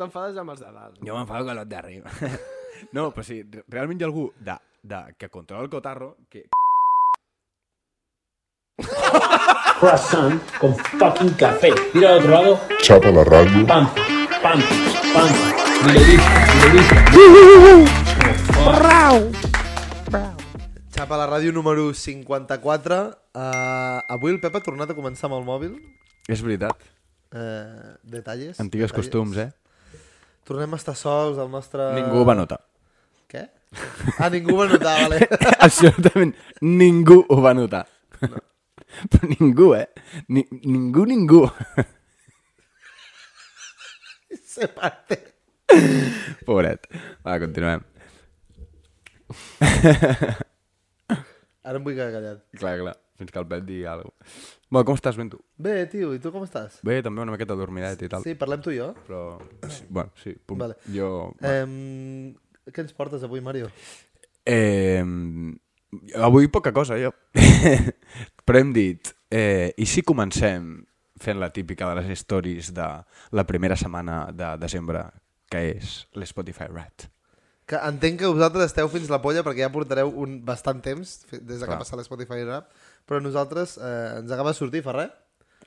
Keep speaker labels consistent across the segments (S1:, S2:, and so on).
S1: T'enfades amb els de dalt.
S2: Jo m'enfado amb els d'arriba. no, però sí, re- realment hi ha algú de, de, que controla el cotarro que...
S3: croissant con fucking café. Mira al otro lado,
S4: Chapa la radio.
S3: pam, pam, pam. Y le dije, y le dije,
S1: Xapa la ràdio número 54. Uh, avui el Pep ha tornat a començar amb el mòbil.
S2: És veritat.
S1: Uh, detalles. detalles.
S2: Antigues costums, eh?
S1: Tornem a estar sols, el nostre...
S2: Ningú va notar.
S1: Què? Ah, ningú va notar, vale.
S2: Absolutament ningú ho va notar. Però ningú, eh? Ni, ningú, ningú.
S1: Se parte.
S2: Pobret. Va, continuem.
S1: Ara em vull quedar callat.
S2: Clar, clar. Fins que el Pep digui alguna cosa. Bé, com estàs ben tu?
S1: Bé, tio, i tu com estàs?
S2: Bé, també una miqueta dormidet i tal.
S1: Sí, parlem tu i jo.
S2: Però, sí, bueno, sí, pum.
S1: Vale.
S2: Jo...
S1: Eh, què ens portes avui, Mario?
S2: Eh, avui poca cosa, jo. Però hem dit, eh, i si comencem fent la típica de les stories de la primera setmana de desembre, que és l'Spotify Red.
S1: Que entenc que vosaltres esteu fins la polla perquè ja portareu un bastant temps fi- des de que
S2: Clar.
S1: ha passat l'Spotify Rap, però nosaltres eh, ens acaba de sortir, fa res.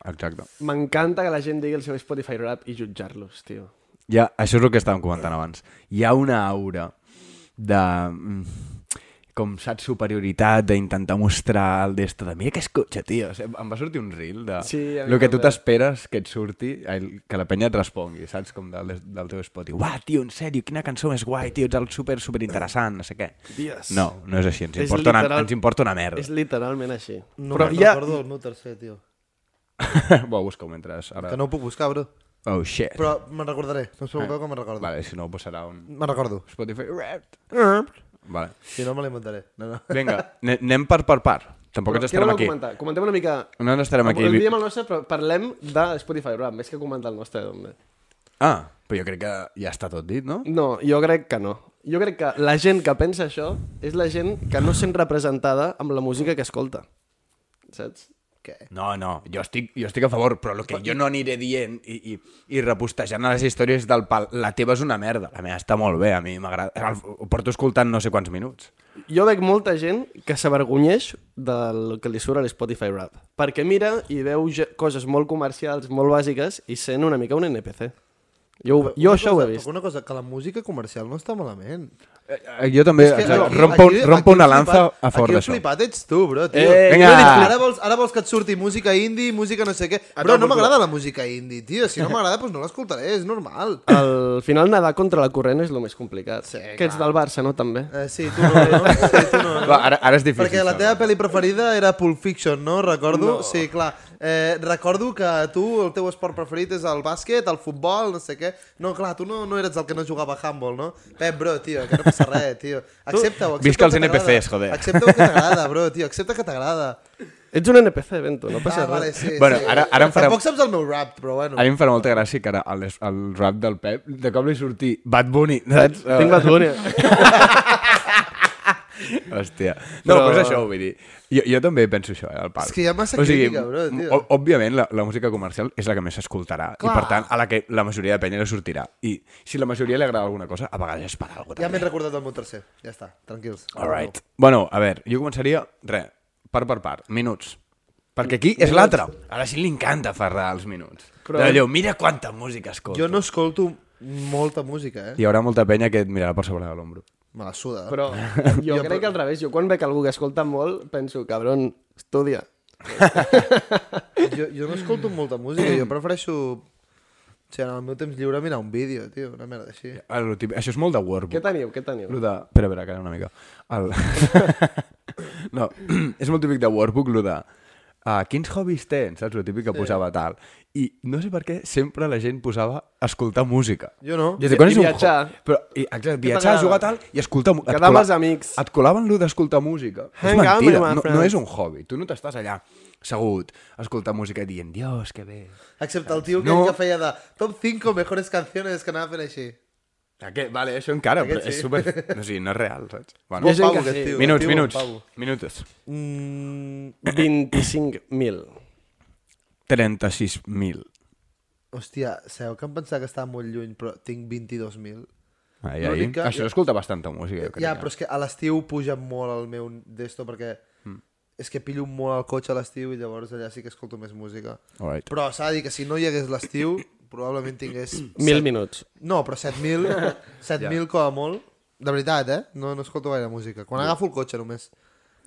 S2: Exacte.
S5: M'encanta que la gent digui el seu Spotify Rap i jutjar-los, tio.
S2: Hi ha, això és el que estàvem comentant abans. Hi ha una aura de... mm, com saps, superioritat, d'intentar mostrar el d'esto de mira que escotxa, tio. O sigui, em va sortir un reel de
S5: Sí, a mi
S2: el que tu
S5: també.
S2: t'esperes que et surti, ai, que la penya et respongui, saps? Com del, del teu Spotify. Uah, tio, en sèrio, quina cançó més guai, tio, ets el super, super interessant, no sé què.
S5: Dies.
S2: No, no és així, ens
S5: És
S2: importa, una,
S5: literal-
S2: ens importa una merda.
S5: És literalment així.
S1: No
S2: Però
S1: però
S2: hi ha-
S1: ja... recordo el meu tercer, tio.
S2: Bo, busca-ho mentre... Ara...
S1: Que no ho puc buscar, bro.
S2: Oh, shit.
S1: Però me'n recordaré. No us preocupeu que me'n recordo.
S2: Vale, si no, ho posarà un
S1: Me'n recordo.
S2: Spotify Wrapped. Vale.
S1: Si no, me l'inventaré. No, no.
S2: Vinga, ne- anem part per part. Tampoc
S5: Però
S2: ens
S5: què
S2: estarem
S5: voleu
S2: aquí.
S5: Comentar? Comentem una mica...
S2: No ens estarem aquí.
S5: Avui diem el nostre, però parlem de Spotify Rap, més que comentar el nostre. Doncs.
S2: Ah, però jo crec que ja està tot dit, no?
S5: No, jo crec que no. Jo crec que la gent que pensa això és la gent que no sent representada amb la música que escolta. Saps? Què?
S2: No, no, jo estic, jo estic a favor, però el que jo no aniré dient i, i, i repostejant a les històries del pal, la teva és una merda. La meva està molt bé, a mi m'agrada. El- Ho porto escoltant no sé quants minuts.
S5: Jo veig molta gent que s'avergonyeix del que li surt a l'Spotify Rap, perquè mira i veu ge- coses molt comercials, molt bàsiques, i sent una mica un NPC. Jo, ho- jo
S1: Una
S5: això ho
S1: cosa-
S5: he vist.
S1: Una cosa, que la música comercial no està malament.
S2: Eh, eh, jo també
S1: que,
S2: exacte,
S1: aquí-
S2: rompo, un-
S1: aquí-
S2: rompo
S1: aquí
S2: una
S1: el
S2: lanza
S1: flipat-
S2: a favor
S1: Aquí el
S2: d'això.
S1: flipat ets tu, bro, tio.
S2: Eh, Vinga.
S1: Vinga. Ara vols, ara vols que et surti música indie, música no sé què. Bro, no m'agrada la música indie, tio. Si no m'agrada, doncs no l'escoltaré, és normal.
S5: Al final nedar contra la corrent és el més complicat. Sí, que ets del Barça, no? També.
S1: Eh, sí, tu no, no? Sí, tu no, no.
S2: Clar, ara, ara és difícil.
S1: Perquè la
S2: això.
S1: teva pel·li preferida era Pulp Fiction, no? Recordo? No. Sí, clar. Eh, recordo que tu, el teu esport preferit és el bàsquet, el futbol, no sé què. No, clar, tu no, no eres el que no jugava a handball, no? Pep, bro, tio, que no passa res, tio. Accepta-ho, accepta-ho
S2: Visca els
S1: que t'agrada.
S2: NPCs, joder.
S1: Accepta-ho que t'agrada, bro, tio, accepta que t'agrada.
S5: Ets un NPC, Bento, no passa
S1: Ah,
S5: res.
S1: vale, sí,
S2: Bueno,
S1: sí.
S2: ara- ara em farà-
S1: Tampoc saps el meu rap, però bueno.
S2: A mi em farà molta gràcia que ara el, el rap del Pep, de cop li sortí Bad Bunny, saps?
S5: Tinc Bad Bunny.
S2: Hòstia. No, però...
S5: Però-
S2: és això, vull dir. Jo, jo també penso això, eh, al pal.
S1: És que hi ha massa crítica, bro, tio.
S2: o- Òbviament, la, la música comercial és la que més s'escoltarà. I,
S1: Clar.
S2: per tant, a la que la majoria de penya li sortirà. I si la majoria li agrada alguna cosa, a vegades és per alguna cosa.
S1: Ja m'he recordat el meu tercer. Ja està, tranquils.
S2: All right. Bueno, a veure, jo començaria, re, part per part, minuts. Perquè aquí és l'altre. A la gent li encanta ferrar els minuts. Però... Allò, mira quanta música escolta.
S1: Jo no escolto molta música, eh?
S2: Hi haurà molta penya que et mirarà per sobre de l'ombro.
S1: Me la suda. eh?
S5: Però jo, jo crec que al revés, jo quan veig algú que escolta molt, penso, cabron, estudia.
S1: Jo, jo no escolto molta música, jo prefereixo... O sigui, en el meu temps lliure mirar un vídeo, tio, una merda així.
S2: El típic- Això és molt de Wordbook.
S5: Què teniu, què teniu?
S2: Lo de... Espera, espera, calla una mica. El... no, és molt típic de Workbook, lo de... Uh, quins hobbies tens, saps? Lo típic que posava tal. I no sé per què sempre la gent posava escoltar música.
S1: Jo no.
S2: Jo dic, quan
S5: I
S2: és un
S5: viatjar.
S2: hobby? Però, i, exacte, viatjar,
S5: t'agrada?
S2: jugar tal i escoltar... mu- et
S5: Quedar amb
S2: cola-
S5: els amics.
S2: Et colaven lo d'escoltar música.
S5: Hang out
S2: és mentida,
S5: with my
S2: no, no
S5: friends.
S2: és un hobby. Tu no t'estàs allà assegut, escoltar música i dient, Dios, que bé.
S1: Excepte el tio
S2: No.
S1: no. que feia de top 5 mejores canciones que anava fent així.
S2: Aquest, vale, això encara,
S1: Aquest
S2: però és
S1: sí.
S2: super... O sigui, no és real, saps?
S5: Hi
S2: Bueno,
S5: ha gent que
S1: aquest
S5: sí.
S1: tio,
S2: minuts,
S1: tio, un
S2: minuts,
S1: pavo.
S2: minutos.
S1: Mm,
S5: 25.000.
S2: 36.000.
S1: Hòstia, sabeu que em pensava que estava molt lluny, però tinc 22.000.
S2: Ai, ai.
S1: L'únic que-
S2: Això escolta bastanta música, jo crec.
S1: Ja, però és que a l'estiu puja molt el meu d'esto, perquè mm. és que pillo molt el cotxe a l'estiu i llavors allà sí que escolto més música.
S2: Alright.
S1: Però s'ha de dir que si no hi hagués l'estiu, probablement tingués...
S5: Mil
S1: set-
S5: minuts.
S1: No, però 7.000, 7.000 com a molt. De veritat, eh? No, no escolto gaire música. Quan agafo el cotxe només,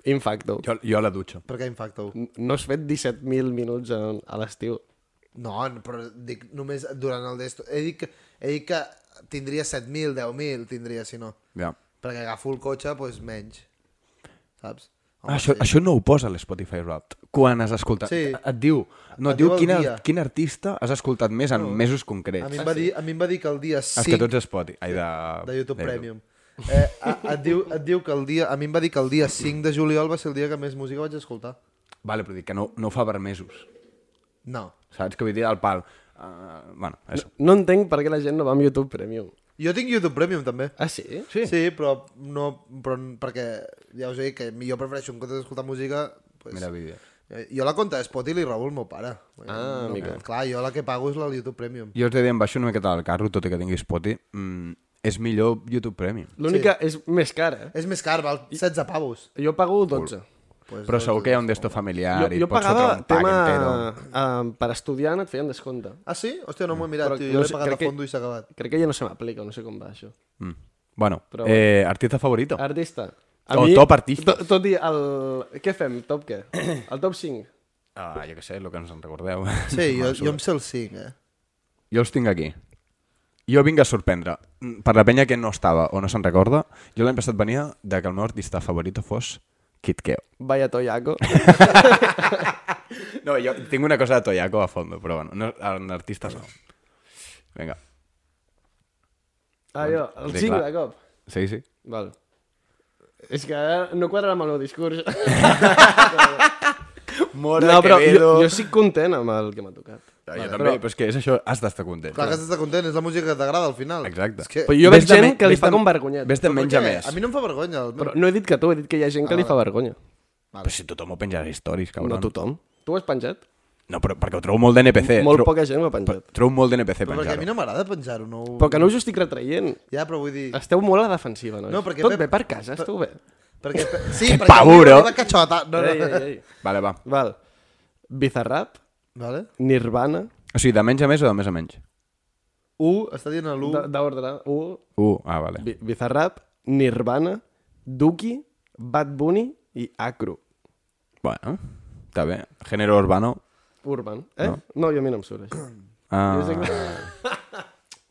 S5: In facto.
S2: Jo, jo a la dutxa.
S1: perquè infacto.
S5: N- No has fet 17.000 minuts a, a l'estiu.
S1: No, no, però dic només durant el d'esto. He dit que, he dit que tindria 7.000, 10.000 tindria, si no.
S2: Ja.
S1: Perquè agafo el cotxe, doncs pues, menys. Saps?
S2: Ah, això, això no ho posa a l'Spotify Wrapped. Quan has escoltat...
S1: Sí.
S2: Et, et diu,
S1: Et
S2: no, et diu
S1: diu el
S2: quin,
S1: dia.
S2: ar quin artista has escoltat més en mesos concrets.
S1: A mi, em va dir, a mi em va dir que el dia
S2: Els que
S1: 5
S2: tots és Spotify. Ai, de...
S1: de YouTube Premium. Eh, a, et, diu, et diu que el dia... A mi em va dir que el dia 5 de juliol va ser el dia que més música vaig escoltar.
S2: Vale, però dic que no, no ho fa per mesos.
S1: No.
S2: Saps? Que vull dir al pal. Uh, bueno, això.
S5: No entenc per què la gent no va amb YouTube Premium.
S1: Jo tinc YouTube Premium, també.
S5: Ah, sí?
S1: Sí? Sí, però no... Però, perquè ja us he dit que jo prefereixo, en comptes d'escoltar música... Pues,
S2: Mira vídeo.
S1: eh, jo la compta de Spotify li robo el meu pare.
S5: Ah,
S1: no,
S5: mica.
S1: Clar, jo la que pago és la del YouTube Premium.
S2: Jo us he de dir, em baixo una miqueta del carro, tot i que tingui Spotify. Mm, és millor YouTube Premium.
S5: L'única sí. és més cara. eh?
S1: És més car, val 16 pavos.
S5: Jo pago 12.
S1: Pues,
S2: Però segur que hi ha un desto familiar
S5: Jo,
S2: i
S5: jo
S2: pots fotre
S5: pagava
S2: un pack
S5: tema...
S2: entero.
S5: Uh, per estudiant et feien descompte.
S1: Ah, sí? Hòstia, no m'ho he mirat,
S5: Mm. Però
S1: tio.
S5: no
S1: Jo l'he
S5: sé,
S1: pagat a
S5: crec que-
S1: fondo i s'ha acabat.
S5: Crec que ja no se m'aplica, no sé com va això.
S2: Mm. Bueno,
S5: Però bueno.
S2: eh, artista favorito.
S5: Artista.
S2: O top artista.
S5: To, tot i el... Què fem? Top què? El top 5?
S2: Ah, jo què sé, el que ens en recordeu.
S1: Sí, jo, jo em sé el 5, eh?
S2: Jo els tinc aquí. Jo vinc a sorprendre. Mm, Per la penya que no estava o no se'n recorda, jo l'any passat venia de que el meu artista favorit fos Kid Keo.
S5: Vaya toyaco.
S2: No, jo tinc una cosa de Toyaco a fondo, però bueno, no, en artistes no. Vinga.
S5: Ah, jo, el
S2: Sí,
S5: 5
S2: clar.
S5: de cop.
S2: Sí, sí.
S5: Val. És que ara no quadra amb el meu discurs.
S2: Mora, Ah,
S5: no, però jo, jo estic content amb el que m'ha tocat.
S2: Jo, jo també, però... és que és això, has d'estar content.
S1: Clar que has d'estar content, és la música que t'agrada al final.
S2: Exacte.
S1: És que...
S5: Però jo
S2: Ves
S5: veig
S2: de
S5: gent
S2: men-
S5: que li
S2: ves
S5: fa
S2: de-
S5: com vergonyet.
S2: Ves de
S1: Per
S2: menys a
S1: què?
S2: més.
S1: A mi no em fa vergonya. El...
S5: Però no he dit que tu, he dit que hi ha gent que li fa vergonya.
S2: Però si tothom ho penja a les stories,
S5: No
S2: cabron.
S5: tothom. Tu ho has penjat?
S2: no, però perquè ho trobo molt d'NPC.
S5: Molt
S2: Tro...
S5: poca gent ho ha penjat.
S2: Trobo molt d'NPC
S1: Però perquè a mi
S2: penjar-ho.
S1: no m'agrada penjar-ho, no... ho-
S5: Però que no us ho estic retraient.
S1: Ja, però vull dir...
S5: Esteu molt a la defensiva, nois.
S1: No, perquè
S5: Tot
S1: Pep-
S5: bé per casa, esteu bé.
S1: Perquè... Sí,
S2: Que
S1: perquè...
S2: pavo,
S1: vull dir
S2: bro.
S1: La cachota... No, no.
S5: Ei, ei, ei.
S1: em-
S2: Vale, va.
S5: Val. Bizarrap,
S1: Vale?
S5: Nirvana,
S2: O sigui, de menys a més o de més a menys?
S1: 1, està dient l'1.
S5: d- d'ordre 1,
S2: Uh, ah, vale.
S5: Bi- Bizarrap, Nirvana, Duki, Bad Bunny i Acro.
S2: Bueno, està bé. Género urbano.
S5: Urban, eh? No, jo a mi no em surt això.
S2: Ah,
S5: Jo sé que-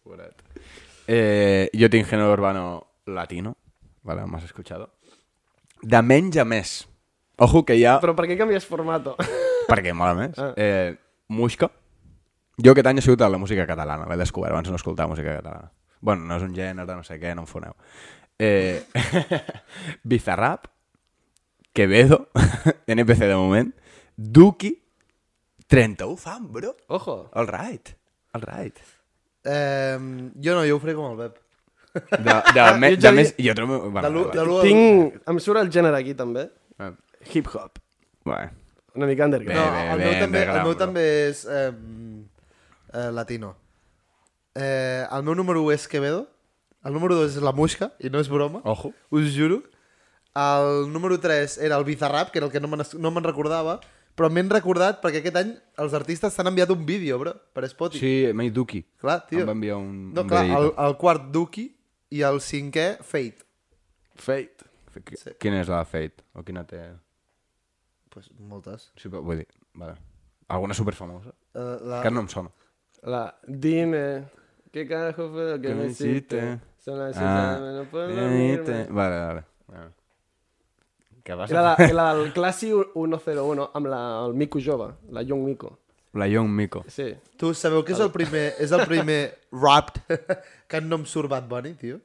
S2: pobret. eh, jo tinc género urbano latino. Vale, m'has escuchado. De menys a més. Ojo que hi ha...
S5: Però per què canvies formato?
S2: Perquè mola més.
S1: Ah.
S2: Eh, Muixca. Jo aquest any he sigut a la música catalana, l'he descobert, abans no escoltava música catalana. Bueno, no és un gènere, no sé què, no em foneu. Eh, Bizarrap, Quevedo, NPC de moment, Duki, 31 fan, bro.
S5: Ojo.
S2: All right, all right.
S1: Eh, jo no, jo ho faré com el Pep.
S2: De, de, me,
S5: Jo
S2: de
S5: ja vi-
S2: més... Jo trobo...
S1: De
S2: Bueno,
S1: l'u- de
S2: vale.
S1: l'u al-
S5: Tinc... Em surt el gènere aquí, també.
S2: Bueno,
S5: Hip-hop.
S2: bueno.
S5: Una
S1: No,
S5: mica
S2: Bé,
S5: underground.
S2: bé,
S1: el
S2: bé,
S1: meu, també, el
S2: underground,
S1: meu
S2: bro.
S1: també és eh, eh, latino. Eh, el meu número 1 és Quevedo. El número 2 és la Muixca, i no és broma.
S2: Ojo.
S1: Us juro. El número 3 era el Bizarrap, que era el que no me'n no me'n recordava, però m'he recordat perquè aquest any els artistes t'han enviat un vídeo, bro, per Spotify.
S2: Sí, m'he dit Duki.
S1: Clar, tio.
S2: Em va enviar un...
S1: No,
S2: un
S1: clar, el,
S2: videíto.
S1: el quart Duki i el cinquè Fate.
S5: Fate.
S1: Sí.
S2: Quina és la de Fate? O quina té...
S1: Pues moltes.
S2: Sí, però vull dir, vale. Alguna superfamosa?
S1: Uh, la...
S2: Que no em sona.
S5: La... Dime... ¿Qué carajo fue lo que me hiciste? Son las seis
S2: Ah.
S5: de la mañana, pues, no puedo
S2: Vale,
S5: dormirme.
S2: vale. vale. Què passa?
S5: Era
S2: La,
S5: la, era el Classi 101 amb la, el Mico jove, la Young Mico.
S2: la Young Miko.
S5: Sí.
S1: Tu sabeu que és el primer, és el primer Wrapped que no em surt Bad Bunny, tio?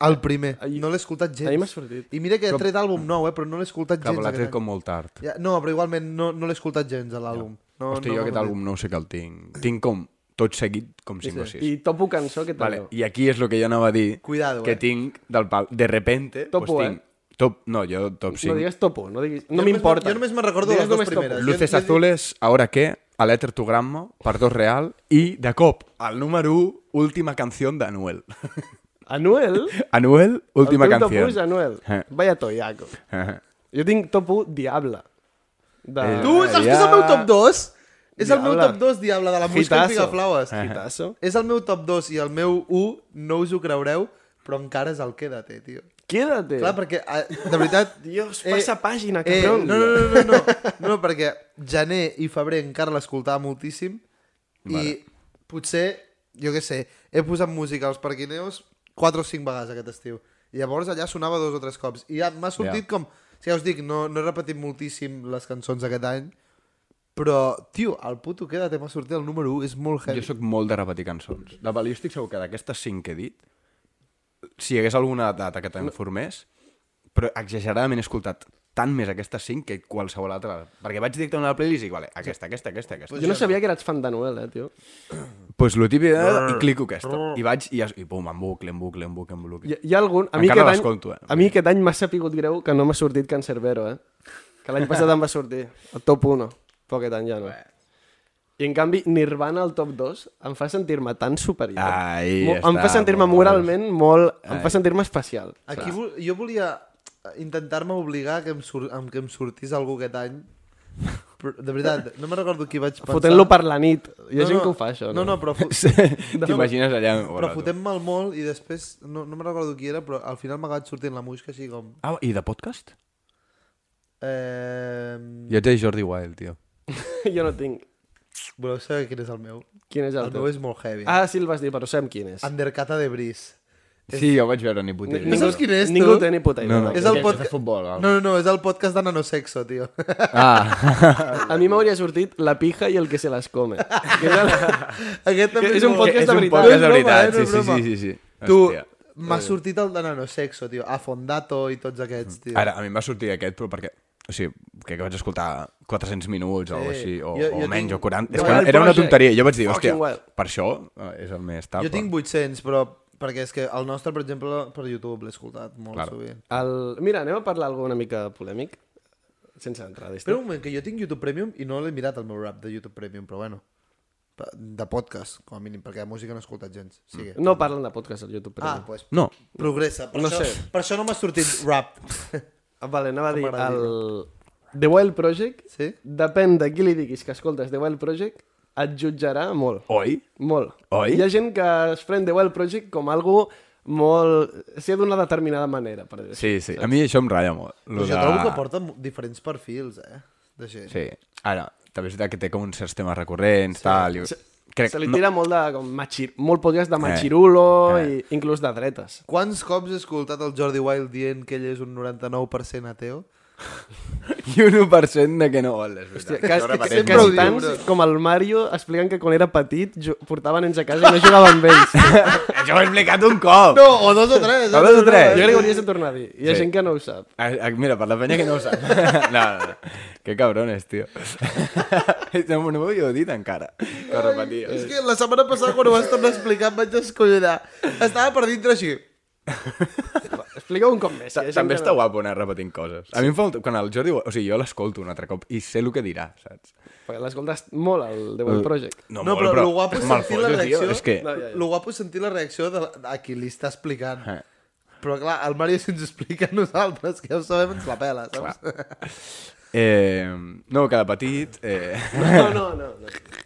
S1: El primer. No l'he escoltat gens.
S5: ahir m'ha sortit.
S1: I mira que he tret àlbum nou, eh, però no l'he escoltat
S2: Cap,
S1: gens.
S2: l'ha
S1: aquest
S2: tret
S1: any.
S2: com molt tard.
S1: Ja, no, però igualment no, no l'he escoltat gens, a l'àlbum. No,
S2: No, Hosti,
S1: no,
S2: jo
S1: no
S2: aquest
S1: m'ha
S2: àlbum no sé que el tinc. Tinc com tot seguit com 5 o 6.
S5: I topo cançó que tal.
S2: Vale,
S5: Vale.
S2: i aquí és el que jo anava a dir.
S1: Cuidado,
S2: Que
S1: eh.
S2: tinc del pal. De repente,
S5: Top u,
S2: pues, tinc... Top, no, jo top
S5: No
S2: 5.
S5: digues topo, no diguis... No
S1: només me-
S5: m'importa.
S1: jo només me'n recordo les
S5: Digues
S1: dues
S5: només topo.
S1: primeres.
S2: Luces
S1: Jo- jo dic-
S2: azules, ahora qué, a l'Etertogramma per dos real i, de cop, al número 1, última canció d'Anuel.
S5: Anuel?
S2: Anuel, última
S5: el teu top
S2: canció.
S5: u és Anuel.
S2: Eh.
S5: Vaya toyaco. Jo tinc top 1 Diable. De...
S2: Eh,
S1: Tu, saps que és el meu top 2? És el meu
S5: Diable.
S1: top 2, Diable, de la música en
S5: Hitazo.
S1: Pigaflaues.
S2: Eh.
S5: Hitazo.
S1: És el meu top 2 i el meu 1, no us ho creureu, però encara és el Quédate, tio.
S5: Quédate.
S1: Clar, perquè, eh, de veritat...
S5: Dios, passa pàgina,
S1: eh,
S5: cabron.
S1: no, no, no, no, no, no, perquè gener i febrer encara l'escoltava moltíssim vale. i potser, jo què sé, he posat música als parquineus 4 o 5 vegades aquest estiu. I llavors allà sonava dos o tres cops. I ja m'ha sortit
S2: Ja.
S1: yeah. com... O sigui, ja us dic, no, no he repetit moltíssim les cançons aquest any, però, tio, el puto quédate m'ha sortit el número 1, és molt
S2: Jo
S1: heavy.
S2: sóc molt de repetir cançons. De val, jo estic segur que d'aquestes 5 que he dit, si hi hagués alguna data que t'informés, però exageradament he escoltat tant més aquestes 5 que qualsevol altra. Perquè vaig directament a la playlist i dic, vale, aquesta, aquesta, aquesta, aquesta.
S5: Jo no sabia que eres fan d'Anuel, eh, tio.
S2: pues lo típic era, i clico aquesta. I vaig i, es- i pum, en bucle, en bucle, en bucle, en bucle.
S5: Hi, hi ha algun... A mi
S2: Encara
S5: aquest any-
S2: l'escolto, eh.
S5: A mi aquest any m'ha sapigut greu que no m'ha sortit Cancerbero, eh? Que l'any passat em va sortir. El top 1. Però aquest any ja no. I en canvi, Nirvana al top 2 em fa sentir-me tan superior.
S2: Ahí
S5: Mo- em
S2: està,
S5: fa sentir-me
S2: molt
S5: moralment molt... Em fa sentir-me especial.
S1: Aquí vol, jo volia intentar-me obligar que em, sur, amb que em sortís algú aquest any. Però, de veritat, no me recordo qui vaig pensar.
S5: Fotent-lo per la nit. Hi ha gent que ho fa, això.
S1: No, no, però, fo-
S2: T'imagines allà...
S1: però
S2: Hola, tu.
S1: fotem-me el molt i després, no, no me recordo qui era, però al final m'ha acabat sortint la musca així com...
S2: Ah, i de podcast?
S1: Eh,
S2: Jo ets de Jordi Wild, tio.
S5: jo no tinc.
S1: voleu saber quin és el meu?
S5: Quin és el
S1: El meu
S5: teu?
S1: és molt heavy. Ah.
S5: Ah, sí, el vas dir, però sabem quin és.
S1: Undercata de Bris.
S2: Sí, jo vaig veure ni puta idea.
S1: No saps qui- quin és, tu?
S5: Ningú té ni puta idea.
S2: No, no.
S1: És el
S2: és de
S1: podcast...
S2: futbol,
S1: no,
S2: val.
S1: no, no, és el podcast de nanosexo, tio.
S2: Ah,
S5: A mi m'hauria sortit La pija i el que se les come. Que és el...
S1: Aquest també
S5: Que és un
S1: molt-
S5: podcast de
S1: No
S5: veritat.
S2: podcast
S1: és
S2: de
S1: broma,
S2: veritat.
S1: eh, no
S2: Sí,
S1: és
S2: sí,
S1: broma.
S2: sí, sí, sí.
S1: Tu,
S2: Hòstia. Eh.
S1: m'ha sortit el de nanosexo, tio. Afondato i tots aquests, tio.
S2: Ara, a mi em va sortir aquest, però perquè... O sigui, que vaig escoltar 400 minuts
S1: Sí.
S2: o alguna així, o,
S1: Jo-
S2: o
S1: jo
S2: menys,
S1: tinc-
S2: o 40... És
S5: Jo
S2: que
S5: el
S2: era una
S5: Project.
S2: tonteria. Jo vaig dir, hòstia,
S5: Fucking wild.
S2: per això eh, és el més tal.
S1: Jo tinc 800, però perquè és que el nostre, per exemple, per YouTube l'he escoltat molt claro.
S2: Claro.
S1: sovint.
S5: El... Mira, anem a parlar d'algú una mica polèmic, sense entrar
S1: Espera
S5: d'estat.
S1: un moment, que jo tinc YouTube Premium i no l'he mirat el meu rap de YouTube Premium, però bueno. Pa- De podcast, com a mínim, perquè de música no he escoltat gens. Sigue.
S5: No parlen de podcast al YouTube.
S1: Ah,
S5: Premium.
S1: doncs pues,
S2: No,
S1: progressa. Per,
S5: Mm. No
S1: això,
S5: sé.
S1: per això no m'ha sortit rap.
S5: Ah, vale, anava a dir,
S1: m'agrada
S5: el... The Wild Project,
S1: Sí?
S5: depèn de qui li diguis que escoltes The Wild Project, et jutjarà molt.
S2: oi?
S5: Molt.
S2: Oi?
S5: Hi ha gent que es pren The Wild Project com algo molt... S'hi ha d'una determinada manera, per dir-ho
S2: Sí, sí. A mi això em ratlla molt.
S1: Però jo trobo que porta mo- diferents perfils, eh? De gent.
S2: Sí. Ara, també és veritat que té com uns certs temes recurrents, tal...
S5: Se,
S2: I... Crec...
S5: se li
S2: no-
S5: tira molt de... Com, machir, molt podcast de machirulo
S2: Eh.
S5: i inclús de dretes.
S1: Quants cops he escoltat el Jordi Wild dient que ell és un 99% ateu?
S2: I un 1% de que no vol, és veritat.
S5: Hòstia, cas,
S2: Això
S5: que,
S2: repeteix
S5: que,
S1: sempre ho
S2: molt.
S5: quasi
S1: diu,
S5: tants
S1: bro.
S5: com el Mario expliquen que quan era petit jo, portaven nens a casa i no jugaven amb ells.
S2: Això ho he explicat un cop!
S1: No, o dos o tres. eh,
S2: O dos o tres.
S5: jo crec que hauries de tornar a dir. Hi ha
S2: Sí.
S5: gent que no ho sap.
S2: Ah, ah, Mira, per la peña que no ho sap. no, no, no. Que cabrones, tio. no m'ho havia dit encara, que ho repetia.
S1: És que la setmana passada quan ho vas tornar a explicar em vaig escollonar. Estava per dintre així.
S5: Explica un cop més.
S2: Ta- També està guapo anar repetint coses. A mi em fa... molt- Quan el Jordi... ho- O sigui, jo l'escolto un altre cop i sé el que dirà, saps?
S5: Perquè l'escoltes molt, el The
S2: Mm.
S5: World Project.
S1: No, però lo guapo és
S2: me'l
S1: sentir la
S2: foto, tio,
S1: reacció.
S2: És que...
S5: No, ja, ja.
S1: Lo guapo és sentir la reacció de, la- a qui li està explicant.
S2: Eh.
S1: Però clar, el Mario si ens explica a nosaltres, que ja ho sabem, ens la pela, saps?
S2: Eh, no, que de petit... Eh,
S5: No, no, no. no.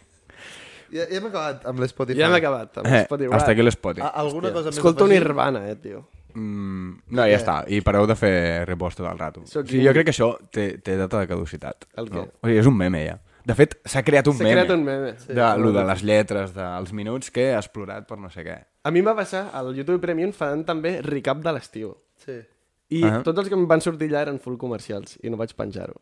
S1: Ja, ja hem acabat amb l'Spotify.
S5: Ja hem acabat. Amb
S2: eh,
S5: Spotify.
S2: hasta aquí l'espoti.
S1: A- Alguna cosa més
S5: Escolta un
S1: afegir?
S5: Nirvana, eh, tio.
S2: Mm, no, ja està. I pareu de fer repost tot el rato. O
S5: Sóc
S2: sigui, jo crec que això té, té data de caducitat.
S5: El què?
S2: No? O sigui, és un meme, ja. De fet, s'ha creat un
S5: S'ha
S2: meme.
S5: creat un meme. Sí.
S2: De, lo de les lletres, dels minuts que has plorat per no sé què.
S5: A mi em va passar, al YouTube Premium fan també recap de l'estiu.
S1: Sí.
S5: I
S2: Ah.
S5: tots els que em van sortir allà eren full comercials i no vaig penjar-ho.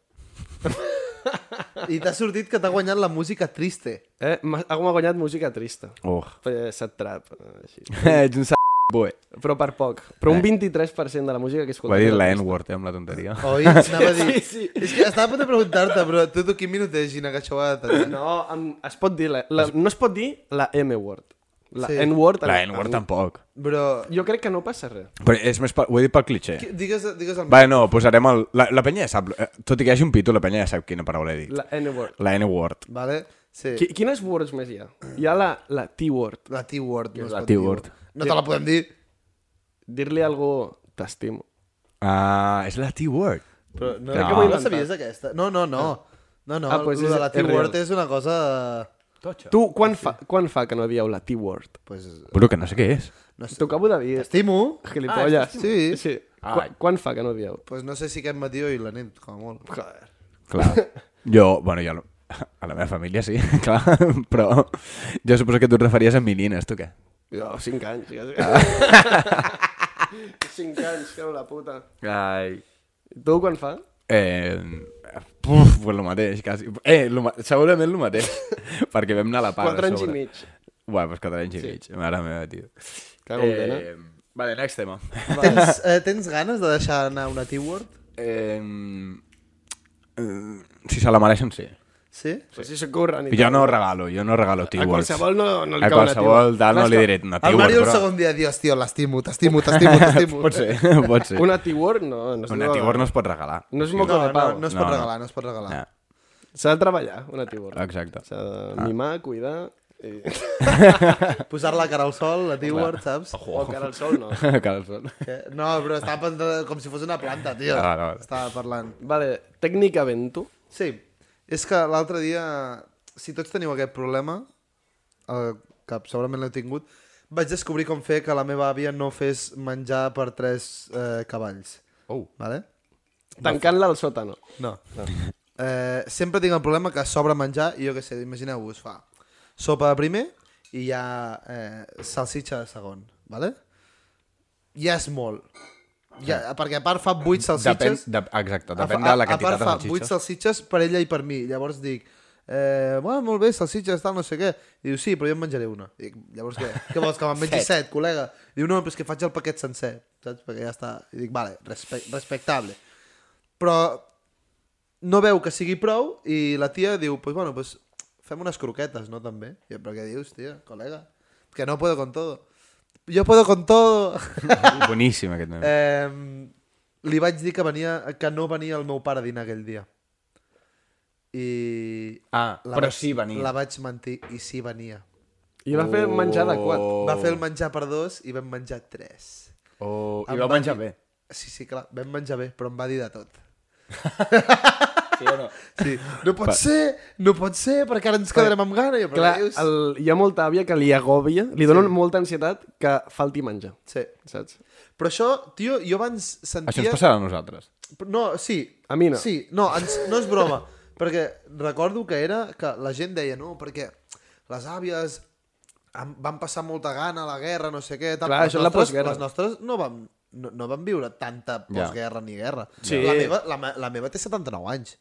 S1: I t'ha sortit que t'ha guanyat la música triste.
S5: Eh? M'ha m'ha guanyat música trista.
S2: Oh.
S5: Eh, Set trap. eh, Així.
S2: Ets un s***, boi.
S5: Però per poc. Però un 23% de la música que
S2: Eh. Ho
S5: escoltem...
S2: va dir la N-word, eh, amb la tonteria.
S1: Oi? Anava a dir...
S5: Sí, sí.
S1: És que estava per preguntar-te, però tu, tu quin minut és, Gina, que això ho ha de tenir?
S5: No, em, es pot dir... La, la, no es pot dir la M-word. La
S1: Sí.
S5: N-word...
S2: La
S5: em-
S2: N-word
S5: em-
S2: tampoc.
S1: Però...
S5: Jo crec que no passa res.
S2: Però és més... Pel, ho he dit pel cliché.
S1: qui- Digues, digues el...
S2: Va, no, posarem el... La, la penya ja sap... eh, Tot i que hi hagi un pito, la penya ja sap quina paraula he dit.
S5: La N-word.
S2: La N-word.
S1: Vale? Sí.
S5: Qui, quines words més hi ha? Hi ha la, la T-word.
S1: La T-word. No es
S2: La
S1: pot
S2: T-word.
S1: dir. No te la podem dir.
S5: Dir-li a algú t'estimo.
S2: Ah, és la T-word.
S1: Però no,
S2: Crec que
S1: no,
S2: m'ho he
S1: no la
S5: inventat.
S1: sabies aquesta? No, no, no. No, no,
S5: Ah,
S1: ah,
S5: pues
S1: pues lo
S5: és-
S1: de la
S5: és real.
S1: T-word és una cosa...
S2: Totxa.
S5: Tu, quan, fa, quan fa que no dieu la T-word?
S1: Pues,
S2: Però que no sé què és.
S1: no sé.
S5: T'ho acabo de dir.
S1: Estimo.
S5: Gilipolles.
S1: Sí.
S5: Ah, sí. Quan, quan fa que no dieu?
S1: Pues no sé si aquest matí o i la nit, com a molt. Joder.
S2: Clar. Jo, bueno, jo... no- A la meva família sí, clar, però jo suposo que tu et referies a menines, tu què?
S5: Jo, 5 anys. Ja. 5 anys, que la puta.
S2: Ai.
S5: Tu quan fa?
S2: Eh, puf, pues el mateix, quasi. Eh, lo, ma- segurament el mateix, perquè vam anar a la part.
S5: 4 anys i mig.
S2: Bueno, pues 4 anys i mig, mare meva, tio.
S5: Cago en Déu,
S2: eh, vale, next tema.
S1: Tens, eh, tens ganes de deixar anar una T-word?
S2: Eh, eh, si se la mereixen, sí.
S1: Sí?
S5: Pues si s'ocorren.
S2: Jo no regalo, jo no regalo
S5: A
S2: T-Words.
S5: qualsevol no, no li
S2: a
S5: cau una
S2: qualsevol tal no
S5: Clar, és
S2: li
S5: que
S2: diré una
S1: El
S2: T-Word,
S1: Mario el
S2: però-
S1: segon dia, dios, tio, l'estimo, t'estimo, t'estimo, t'estimo.
S2: Pot ser, pot ser.
S5: Una T-word no. no es
S2: Una
S5: diu-
S2: T-Word no es pot regalar.
S5: No és
S1: No,
S5: moco
S1: no,
S5: de pau.
S1: no es
S2: No,
S1: pot
S2: no.
S1: regalar, no es pot regalar.
S2: Ja,
S5: S'ha de treballar, una T-word.
S2: exacte.
S5: S'ha de mimar, cuidar... I...
S1: Posar la cara al sol, la T-word, saps?
S5: O cara al sol, no.
S2: Calçon.
S1: Que- No, però estava pensant com si fos una planta, tio.
S2: Ah, no.
S1: Estava parlant.
S5: Vale, tècnicament tu...
S1: Sí, és que l'altre dia, si tots teniu aquest problema, el que segurament l'he tingut, vaig descobrir com fer que la meva àvia no fes menjar per tres eh, cavalls.
S2: Oh.
S1: Vale?
S5: Tancant-la al sòtano.
S1: No. no. Eh, sempre tinc el problema que sobra menjar i jo què sé, imagineu-vos, fa sopa de primer i hi ha eh, salsitxa de segon, vale? Ja és molt. Ja, perquè a part fa 8
S2: Depèn,
S1: salsitxes...
S2: de, exacte,
S1: A-
S2: depèn
S1: a-
S2: de la
S1: a
S2: quantitat
S1: part,
S2: de
S1: fa
S2: salsitxes.
S1: 8 salsitxes per ella i per mi. Llavors dic, eh, bueno, molt bé, salsitxes, tal, no sé què. I diu, sí, però jo en menjaré una. Dic, llavors què? Què vols, que me'n mengi set, col·lega? Diu, no, però és que faig el paquet sencer, saps? Perquè ja està. I dic, vale, respe respectable. Però no veu que sigui prou i la tia diu, pues bueno, pues fem unes croquetes, no, també? I jo, però què dius, tia, col·lega? Que no puedo con todo. Yo puedo con todo.
S2: Boníssim, aquest meme.
S1: Eh, li vaig dir que, venia, que no venia el meu pare a dinar aquell dia. I...
S2: ah, però
S1: vaig,
S2: sí, venia.
S1: La vaig mentir i sí venia.
S5: I va fer menjar adequat.
S1: Oh. Va fer el menjar per dos i vam menjar tres.
S2: Oh,
S1: Em
S2: I vau
S1: va
S2: menjar
S1: dir-
S2: bé.
S1: Sí, sí, clar, vam menjar bé, però em va dir de tot.
S2: Sí o no?
S1: Sí. No pot ser, no pot ser, perquè ara ens quedarem amb gana. Jo, però
S5: Clar,
S1: què dius?
S5: el, hi ha molta àvia que li agòbia, li dona molta ansietat que falti menjar,
S1: Sí.
S5: saps?
S1: Però això, tio, jo abans sentia...
S2: Això ens passarà a nosaltres.
S1: No, sí.
S5: A mi no.
S1: Sí, no, ens, no és broma. perquè recordo que era que la gent deia, no, perquè les àvies em- van passar molta gana a la guerra, no sé què... Tal.
S5: Clar,
S1: Les
S5: això és la
S1: nostres-
S5: postguerra.
S1: Les nostres no van, no, no van viure tanta postguerra ni guerra.
S5: Sí.
S1: La, meva, la, me- la meva té 79 anys.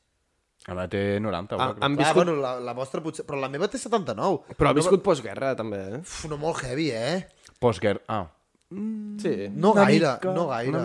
S2: Ara té 90.
S5: Ah,
S2: Ah,
S5: em-
S2: amb...
S1: Clar,
S5: viscut-
S1: bueno, la, la vostra potser... Però la meva té 79.
S5: Però ha viscut postguerra, també, eh?
S1: Uf, no molt heavy, eh?
S2: Postguerra. Ah.
S5: Sí.
S1: No gaire, no gaire.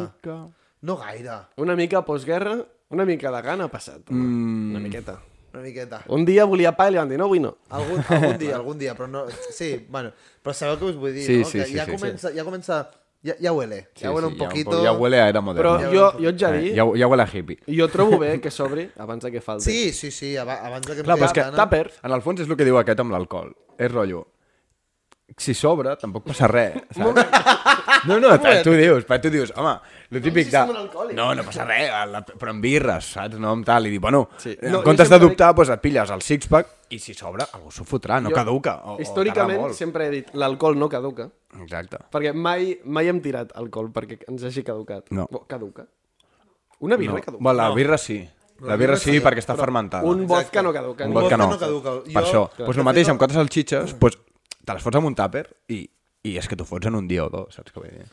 S1: No gaire.
S5: Una mica postguerra, una mica de gana ha passat. Mm. Una miqueta.
S1: Una miqueta.
S5: Un dia volia pa i li van dir, no, avui no.
S1: Algun, algun dia, algun dia, però no... Sí, bueno, però sabeu què us vull dir,
S2: Sí,
S1: no?
S2: sí,
S1: que
S2: sí,
S1: ja,
S2: sí,
S1: comença, ja comença... Ja, ja huele,
S2: Sí,
S1: ja huele
S2: sí,
S1: un
S2: ja
S1: poquito...
S2: Ja huele a era
S5: Però
S2: moderna.
S5: jo, jo et ja
S2: Eh,
S5: dic,
S2: ja, ja huele a hippie.
S5: i jo trobo bé que s'obri abans de que falti.
S1: Sí, sí, sí, aba- abans de que em
S2: Clar, però
S1: quedi
S2: és que eh?
S1: gana.
S5: tàper.
S2: En el fons és el que diu aquest amb l'alcohol. És rotllo. Si sobra, tampoc passa res. Saps? No, no, pa, tu dius, pa, tu dius, home, lo típic de...
S5: som un alcohòlic.
S2: No, no passa res, a la, però amb birres, saps? No, amb tal, i dir, bueno,
S5: Sí.
S2: sí. en no,
S5: No, jo
S2: comptes
S5: sempre
S2: d'adoptar, doncs et pilles el six-pack i si sobra, algú s'ho fotrà, no
S5: Jo,
S2: jo, caduca. O, o
S5: històricament,
S2: tarda molt.
S5: sempre he dit, l'alcohol no caduca.
S2: Exacte.
S5: Perquè mai, mai hem tirat alcohol perquè ens hagi caducat.
S2: No.
S5: Bo, Caduca? Una birra no. caduca.
S2: Bueno, la birra sí. La birra sí, perquè està fermentada.
S5: Un vodka no caduca.
S2: Un
S5: ni-
S2: vodka
S1: vodka
S2: no.
S1: no caduca. Jo-
S2: Per això.
S1: Clar.
S2: Doncs el mateix, amb quatre salxitxes, pues, te les fots amb un tàper i, i és que t'ho fots en un dia o dos, saps què vull dir?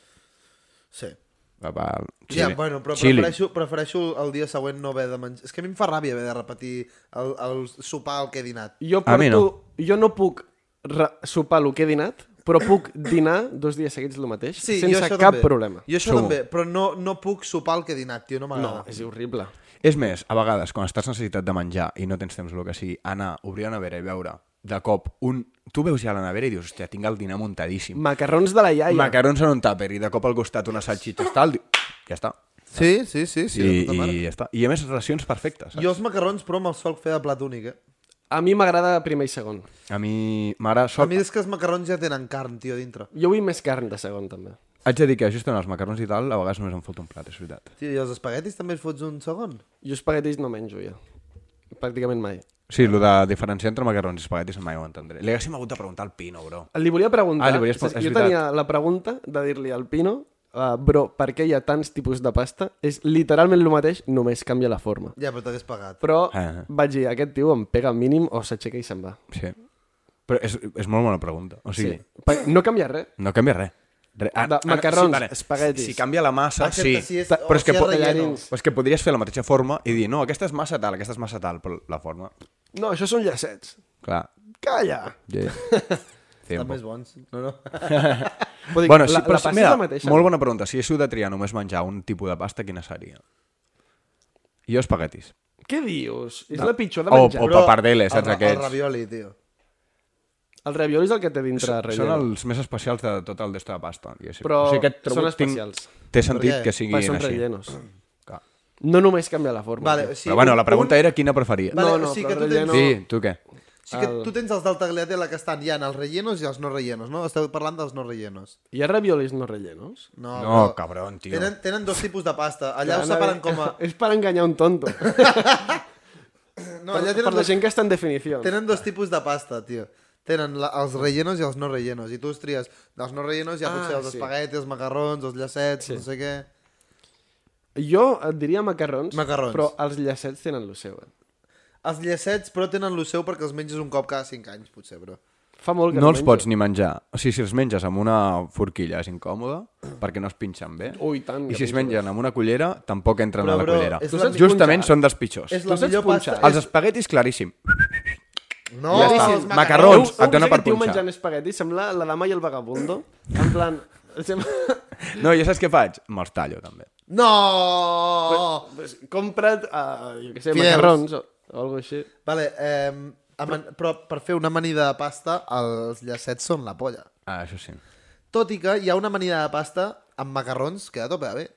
S1: Sí.
S2: Va, va,
S1: Chili. Ja, bueno, però
S2: Chili.
S1: prefereixo, prefereixo el dia següent no haver de menjar... És que a mi em fa ràbia haver de repetir el, el sopar al que he dinat.
S5: Jo,
S2: A mi
S5: porto, no.
S2: no.
S5: jo no puc re- sopar el que he dinat, però puc dinar dos dies seguits el mateix,
S1: Sí, jo
S5: sense
S1: això
S5: cap
S1: també.
S5: problema.
S1: Jo Ah. això
S2: Sumo.
S1: també, però no, no puc sopar el que he dinat, tio, no
S5: No,
S1: m'agrada.
S5: és horrible.
S2: És més, a vegades, quan estàs necessitat de menjar i no tens temps el que sigui, anar, obrir la nevera i veure de cop un... Tu veus ja la nevera i dius, hòstia, tinc el dinar muntadíssim.
S5: Macarrons de la iaia.
S2: Macarons en un tàper i de cop al costat unes salxitxes tal, diu, ja està.
S1: Sí, sí, sí, sí.
S2: I,
S1: de puta
S2: i
S1: mare.
S2: ja està. I a més, racions perfectes. Saps?
S1: Jo els macarrons, però me'ls sol fer de plat únic, eh?
S5: A mi m'agrada primer i segon.
S2: A mi, mare,
S1: A
S2: soc...
S1: mi és que els macarrons ja tenen carn, tio, a dintre.
S5: Jo vull més carn de segon, també.
S2: Haig de dir que just en els macarrons i tal, a vegades només em falta un plat, és veritat.
S1: Tio, i els espaguetis també els fots un segon?
S5: Jo espaguetis no menjo, jo. Pràcticament mai.
S2: Sí, el de diferenciar entre macarrons i espaguetis mai ho entendré. Li haguéssim hagut de preguntar al Pino, bro.
S5: Li volia preguntar...
S2: Ah, li volies-
S5: és que
S2: és
S5: jo
S2: veritat.
S5: tenia la pregunta de dir-li al Pino uh, bro, per què hi ha tants tipus de pasta? És literalment el mateix, només canvia la forma.
S1: Ja, però t'hagués pagat.
S5: Però
S2: Ah.
S5: vaig dir, aquest tio em pega mínim o s'aixeca i se'n va.
S2: Sí. Però és, és molt bona pregunta. O sigui, sí.
S5: Per- No canvia res.
S2: no canvia res. Re. Ah,
S5: De
S2: ah,
S5: macarrons,
S2: vale.
S5: espaguetis.
S2: Si, si canvia la massa,
S1: Excepte
S2: sí.
S1: si és-
S2: Ta-
S1: o
S2: però és
S1: si
S2: que,
S1: és
S2: po-
S1: relleno.
S2: però és que podries fer la mateixa forma i dir, no, aquesta és massa tal, aquesta és massa tal, però la forma...
S5: No, això són llacets.
S2: Clar.
S5: Calla!
S2: Yeah.
S1: Estan més bons. No, no.
S5: Vull dir,
S2: Bueno, sí,
S5: la,
S2: però,
S5: la pasta
S2: mira,
S5: és la mateixa.
S2: molt bona pregunta. Si heu de triar només menjar un tipus de pasta, quina seria? Jo espaguetis.
S5: Què dius? És la pitjor de
S2: O-
S5: menjar.
S2: o- papardeles, saps,
S1: el, ra-
S2: aquests?
S1: El ravioli, tio.
S5: El ravioli és el que té dintre
S2: Són
S5: relleno.
S2: els més especials de tot el d'esto de pasta. diguéssim.
S5: Però
S2: o sigui, aquest trobo
S5: són
S2: que tinc-
S5: especials.
S2: Té sentit
S1: què?
S2: que
S5: Perquè
S2: siguin
S5: són
S2: així.
S5: rellenos.
S2: Clar.
S5: No només canvia la forma.
S1: Vale,
S5: tio.
S1: o sigui,
S2: Però bueno, la
S1: un-
S2: pregunta era quina preferia.
S1: Vale,
S5: No,
S1: no,
S5: no,
S1: no, o sigui
S5: però
S1: que tu
S5: relleno-
S1: tens,
S2: Sí, tu què?
S1: o sigui que
S5: El-
S1: tu tens els del tagliatella que estan, hi ha els rellenos i els no rellenos, no? Esteu parlant dels no rellenos.
S5: Hi ha raviolis no rellenos?
S1: No,
S2: No,
S1: però
S2: cabrón, tio.
S1: Tenen, tenen dos tipus de pasta. Allà ho
S5: Clar,
S1: separen
S5: no,
S1: com a...
S5: És per enganyar un tonto.
S1: No, allà
S5: eh, per
S1: tenen
S5: la
S1: dos,
S5: gent que està en definició.
S1: tenen dos tipus de pasta, tio. Tenen la, els rellenos i els no rellenos. I tu els tries dels no rellenos, ja
S5: Ah,
S1: ah, potser els
S5: sí.
S1: sí. espaguetis, els macarrons, els llacets, sí. no sé què...
S5: Jo et diria macarrons,
S1: Macarrons.
S5: però els llacets tenen lo seu. Eh?
S1: Els llacets, però tenen lo seu perquè els menges un cop cada 5 anys, potser, però...
S5: Fa molt que
S2: No els
S5: menjo.
S2: pots ni menjar. O sigui, si els menges amb una forquilla és incòmode perquè no es pinxen bé.
S5: Ui, tant,
S2: I
S5: que
S2: si es
S5: pinxen
S2: mengen amb una cullera, tampoc entren
S1: Però,
S2: a la
S1: bro,
S2: cullera.
S1: és
S5: la millor
S2: Justament
S5: punxada.
S2: són dels pitjors.
S1: És la
S5: saps
S1: millor
S5: punxar?
S1: pasta...
S2: Els espaguetis, claríssim.
S1: No,
S2: Ja està.
S1: els
S2: Ah, Macarrons.
S5: Heu- heu
S2: et dona
S5: vist
S2: per
S5: aquest tio
S2: punxar.
S5: menjant espaguetis? Sembla la dama i el vagabundo. En plan... sembla-
S2: No, ja saps què faig? Me'ls tallo, també.
S1: No!
S5: Oh, Pues, compra't, uh, jo què sé,
S1: Fideus.
S5: macarrons o, o alguna així.
S1: Vale, eh, aman... però per fer una amanida de pasta, els llacets són la polla.
S2: Ah, això sí.
S1: Tot i que hi ha una amanida de pasta amb macarrons que a tope de bé.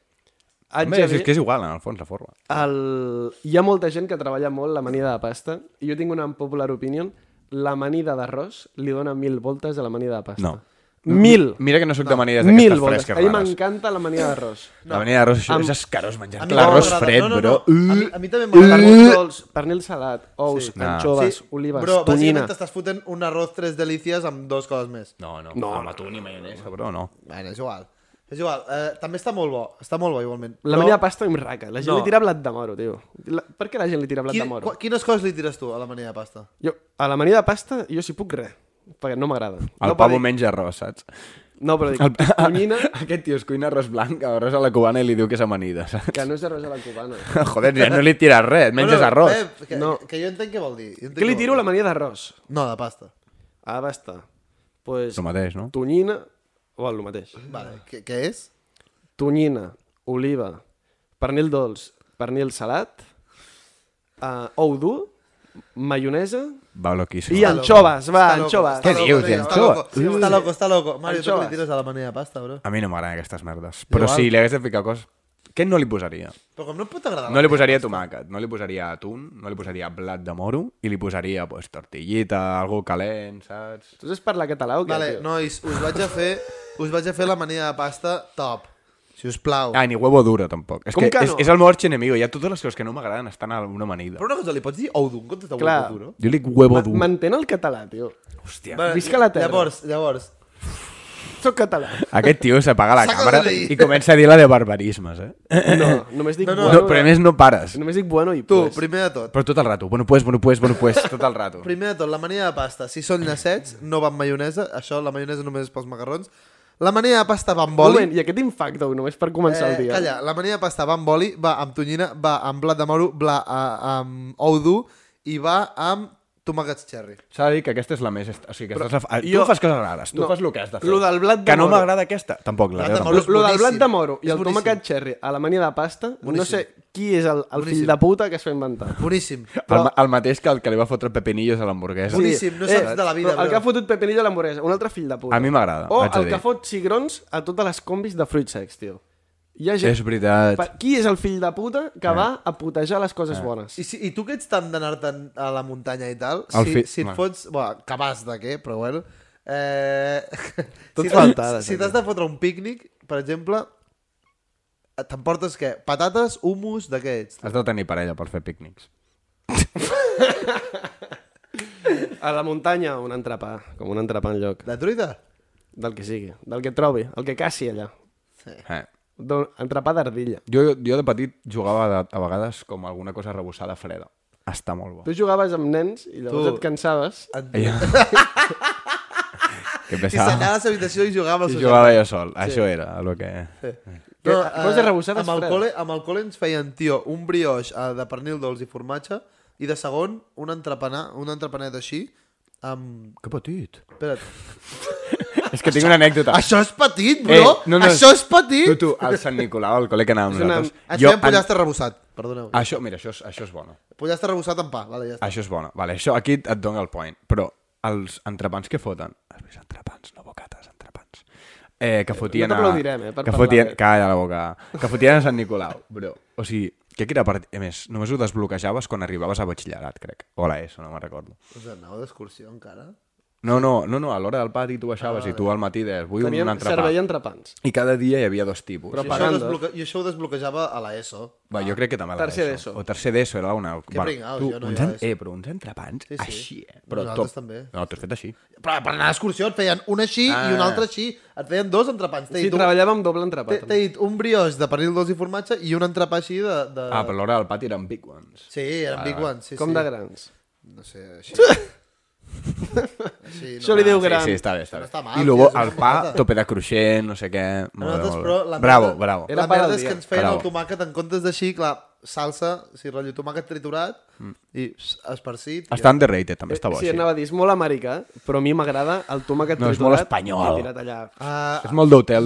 S5: Haig
S2: Home,
S5: de
S2: és,
S5: dir,
S2: és que és igual, en el fons, la forma.
S5: el... hi ha molta gent que treballa molt l'amanida de pasta i jo tinc una popular opinion l'amanida d'arròs li dona mil voltes a l'amanida de pasta.
S2: No.
S5: Mil!
S2: Mira que no sóc de manides
S5: mil
S2: d'aquestes
S5: voltes.
S2: fresques
S5: A mi
S2: rares. Mm.
S5: m'encanta l'amanida d'arròs.
S2: La manida d'arròs això
S5: Amb-
S2: és escarós menjar.
S1: A mi
S2: L'arròs
S1: m'agrada.
S2: fred,
S1: No, no,
S2: bro. Uh.
S1: no. A mi- a mi també m'agrada
S5: Carbons dolç, pernil salat, ous,
S1: Sí.
S5: sí. anxoves,
S1: Sí,
S5: olives,
S1: Bro,
S5: tonyina.
S1: bàsicament t'estàs fotent un arroz tres delícies amb dos coses més.
S2: No, no, no, amb atún i maionesa, bro, no.
S1: Bueno, és igual. És igual. Eh, també està molt bo. Està molt bo, igualment.
S5: La manida de pasta em raca. La gent
S1: No.
S5: li tira blat de moro, tio. La... Per què la gent li tira blat de moro?
S1: qui, quines coses li tires tu a la manida de pasta?
S5: Jo, a l'amanida de pasta, jo si puc res, perquè no m'agrada.
S2: El
S5: no,
S2: no, pavo
S5: però dic-
S2: menja arròs, saps?
S5: No, però dic,
S2: El...
S5: tonyina,
S2: Aquest tio es cuina arròs blanc, arròs a la cubana i li diu que és amanida, saps?
S5: que no és arròs a la cubana.
S2: Joder, ja no li tires res, menges
S1: Bueno, eh,
S2: arròs.
S1: Pep, que,
S5: No.
S1: no. que jo entenc què vol dir. Jo entenc
S5: Què li
S1: vol
S5: tiro
S1: dir.
S5: a l'amanida d'arròs?
S1: No, de pasta.
S5: Ah, basta. Pues,
S2: El mateix, no?
S5: tonyina, o el mateix.
S1: Vale, què, què és?
S5: Tonyina, oliva, pernil dolç, pernil salat, uh, ou dur, maionesa
S2: Va loquíssim.
S5: i anxoves, va,
S1: Està loco,
S5: anxoves.
S1: està
S2: Què
S1: loco,
S2: dius,
S1: tio, Està loco,
S2: tio, anxova?
S1: està loco, està loco. Mario, tu què
S5: Anxoves.
S1: li tires a la manida de pasta, bro?
S2: A mi no m'agraden aquestes merdes. Però
S1: Igual. Ah,
S2: si li hagués de ficar coses... Què no li posaria?
S1: Però com no et pot agradar?
S2: No li posaria tomàquet, no li posaria atún, no li posaria blat de moro i li posaria pues, tortillita, algú calent, saps?
S5: Tu saps parlar català o què,
S1: Vale,
S5: tio?
S1: nois, us vaig a fer, us vaig a fer la manida de pasta top. Si us plau.
S2: Ah, ni huevo duro, tampoc. És
S5: Com
S2: que,
S5: que
S2: és,
S5: no?
S2: és el meu arxienemigo. Hi ha totes les coses que no m'agraden estan a una amanida.
S1: Però una cosa, li pots dir ou d'un comptes de
S5: Clar.
S1: huevo duro?
S2: Jo li dic huevo
S5: Ma-
S2: dur.
S5: Mantén el català, tio.
S2: Hòstia.
S1: Vale,
S5: Visca la terra.
S1: Llavors, llavors,
S5: Soc català.
S2: Aquest tio s'apaga la
S1: Saca
S2: càmera
S1: de
S2: i
S1: ahí.
S2: comença a dir la de barbarismes, eh?
S5: No, només dic
S1: No, no,
S2: No,
S5: bueno.
S2: però a més no pares.
S5: Només dic bueno i
S1: tu,
S5: pues.
S1: primer de tot.
S2: Però tot el rato. Bueno, pues, bueno, pues, bueno, pues, tot el rato.
S1: Primer de tot, la manida de pasta. Si són llacets, no va amb maionesa. Això, la maionesa només és pels macarrons. La manida de pasta va amb
S5: Un
S1: boli.
S5: moment, i aquest infacto, només per començar el
S1: Eh,
S5: dia.
S1: calla, la manida de pasta va amb boli, va amb tonyina, va amb blat de moro, bla, a, amb ou dur i va amb tomàquets cherry.
S2: S'ha de dir que aquesta és la més... est- O sigui, que estàs a... fa-
S5: jo-
S2: tu fas coses rares, tu
S5: No.
S2: fas el que has de fer.
S5: Lo del blat de
S2: Que no
S5: moro.
S2: m'agrada aquesta? Tampoc,
S1: Blat
S2: la meva
S1: de
S5: Lo,
S1: moro.
S2: tampoc.
S1: És
S5: lo del blat
S1: boníssim,
S5: de moro i
S1: és
S5: el
S1: boníssim.
S5: tomàquet cherry a la mania de pasta, no
S1: Boníssim.
S5: sé qui és el, el fill
S1: Boníssim.
S5: de puta que es fa inventar.
S1: Boníssim.
S2: El, ma- el mateix que el que li va fotre pepinillos a l'hamburguesa.
S1: Boníssim, no saps de la vida,
S5: però Eh, El
S1: bro.
S5: que ha fotut Pepinillo a l'hamburguesa, un altre fill de puta.
S2: A mi m'agrada,
S5: O
S2: haig de
S5: el
S2: dir.
S5: que fot cigrons a totes les combis de fruits secs, tio. Hi ha
S2: És Eh. veritat.
S5: Pa- Qui és el fill de puta que va a putejar les
S2: Eh.
S5: coses bones?
S1: I, si, I tu que ets tant d'anar-te'n a la muntanya i tal,
S2: El
S1: si,
S2: fi-
S1: si et
S2: bueno.
S1: fots... Bueno, que vas de què, però bueno... Eh...
S5: Tot
S1: si
S5: faltades,
S1: Si t'has de fotre un pícnic, per exemple, eh, t'emportes què? Patates, humus, de què ets?
S2: Has de tenir parella per fer pícnics.
S5: A la muntanya, un entrepà, com un entrepà en lloc,
S1: De truita?
S5: del que sigui, del que trobi, el que caci allà.
S2: Eh.
S5: D'un entrepà d'ardilla.
S2: Jo, jo de petit jugava de, a vegades com alguna cosa rebossada freda. Està molt bo.
S5: Tu jugaves amb nens i llavors
S1: Tu-
S5: tu... et cansaves.
S2: Ella... que
S1: I s'anava
S2: pesava.
S1: a la seva habitació i jugava al
S2: I
S1: seu
S2: jugava jo sol. Això era el que...
S5: Que- Eh, coses arrebossades
S1: eh, amb el,
S5: fredes.
S1: col·le, amb el col·le ens feien, tio, un brioix eh, de pernil dolç i formatge i de segon un entrepanar, un entrepanet així amb...
S2: Que petit.
S1: Espera't.
S2: És que tinc una anècdota.
S1: Això és petit, bro! Eh, no, no, Això és petit!
S2: Tu, tu, al Sant Nicolau, al col·le que anàvem
S5: És una-
S2: nosaltres.
S1: Ens jo, feien pollastre rebossat, perdoneu. Ah.
S2: Això, mira, això és, això és bona.
S1: Pollastre rebossat amb pa, vale, ja està.
S2: Això és bona. Vale, això aquí et dono el point. Però els entrepans que foten... Has vist entrepans, no bocates, entrepans. Eh, que fotien
S5: t'aplaudirem, eh, per
S2: que
S5: parlar
S2: fotien...
S5: bé.
S2: Calla la boca. Que fotien a Sant Nicolau, bro. O sigui, crec que era part... A més, només ho desbloquejaves quan arribaves a batxillerat, crec. O a la ESO, no me'n recordo.
S1: Us anàveu d'excursió encara?
S2: No, no, no, no, a l'hora del pati tu baixaves ah, i tu al matí deies, vull
S5: Teníem
S2: un
S5: un
S2: entrepà.
S5: servei entrepans.
S2: I cada dia hi havia dos tipus.
S5: Però
S1: I
S5: Pagant,
S1: això, ho
S5: eh?
S1: desbloque... I això ho desbloquejava a la ESO.
S2: Va, jo crec que també a la
S5: Tercer
S2: d'ESO.
S5: d'ESO.
S2: O tercer d'ESO era una... Que
S1: pringaos, jo no
S2: uns
S1: hi
S2: en...
S1: vaig.
S2: Eh, però uns entrepans,
S1: sí.
S2: així, eh? Però
S1: Nosaltres
S2: top.
S1: també.
S2: No, t'ho has fet així.
S1: Però per anar d'excursió et feien un així ah. i un
S2: Ah.
S1: altre així. Et feien dos entrepans. T'he
S5: Sí,
S1: dit, un-
S5: treballàvem doble entrepà.
S1: t'he- t'he dit un brioix de pernil dolç i formatge i un entrepà així de... de...
S2: Ah, però a l'hora del pati eren big ones.
S1: Sí, eren big ones. Sí,
S5: Com
S1: sí.
S5: de grans.
S1: No sé, així. així no.
S5: Això li diu gran.
S2: Ah, Sí, sí, està bé, està
S1: No
S2: bé.
S1: està mal,
S2: I
S1: tio,
S2: luego
S1: és una
S2: el pa,
S1: patata.
S2: tope de cruixent, no sé què... Molt, bé,
S1: Nosaltres,
S2: molt
S1: però,
S2: bé.
S1: la
S2: Bravo,
S1: merda,
S2: bravo.
S1: Tota
S5: Era
S1: la
S5: part
S1: merda
S5: del
S1: és
S5: dia.
S1: que ens feien
S2: Bravo.
S1: el tomàquet en comptes d'així, clar, salsa, sí, rotllo tomàquet triturat
S2: Mm.
S1: i pss, esparcit. i
S2: Està underrated, també està bo,
S5: sí,
S2: així.
S5: anava a dir, és molt americà, però a mi m'agrada el tomàquet
S2: No, és molt espanyol.
S5: i tirat allà.
S1: Ah,
S2: És molt d'hotel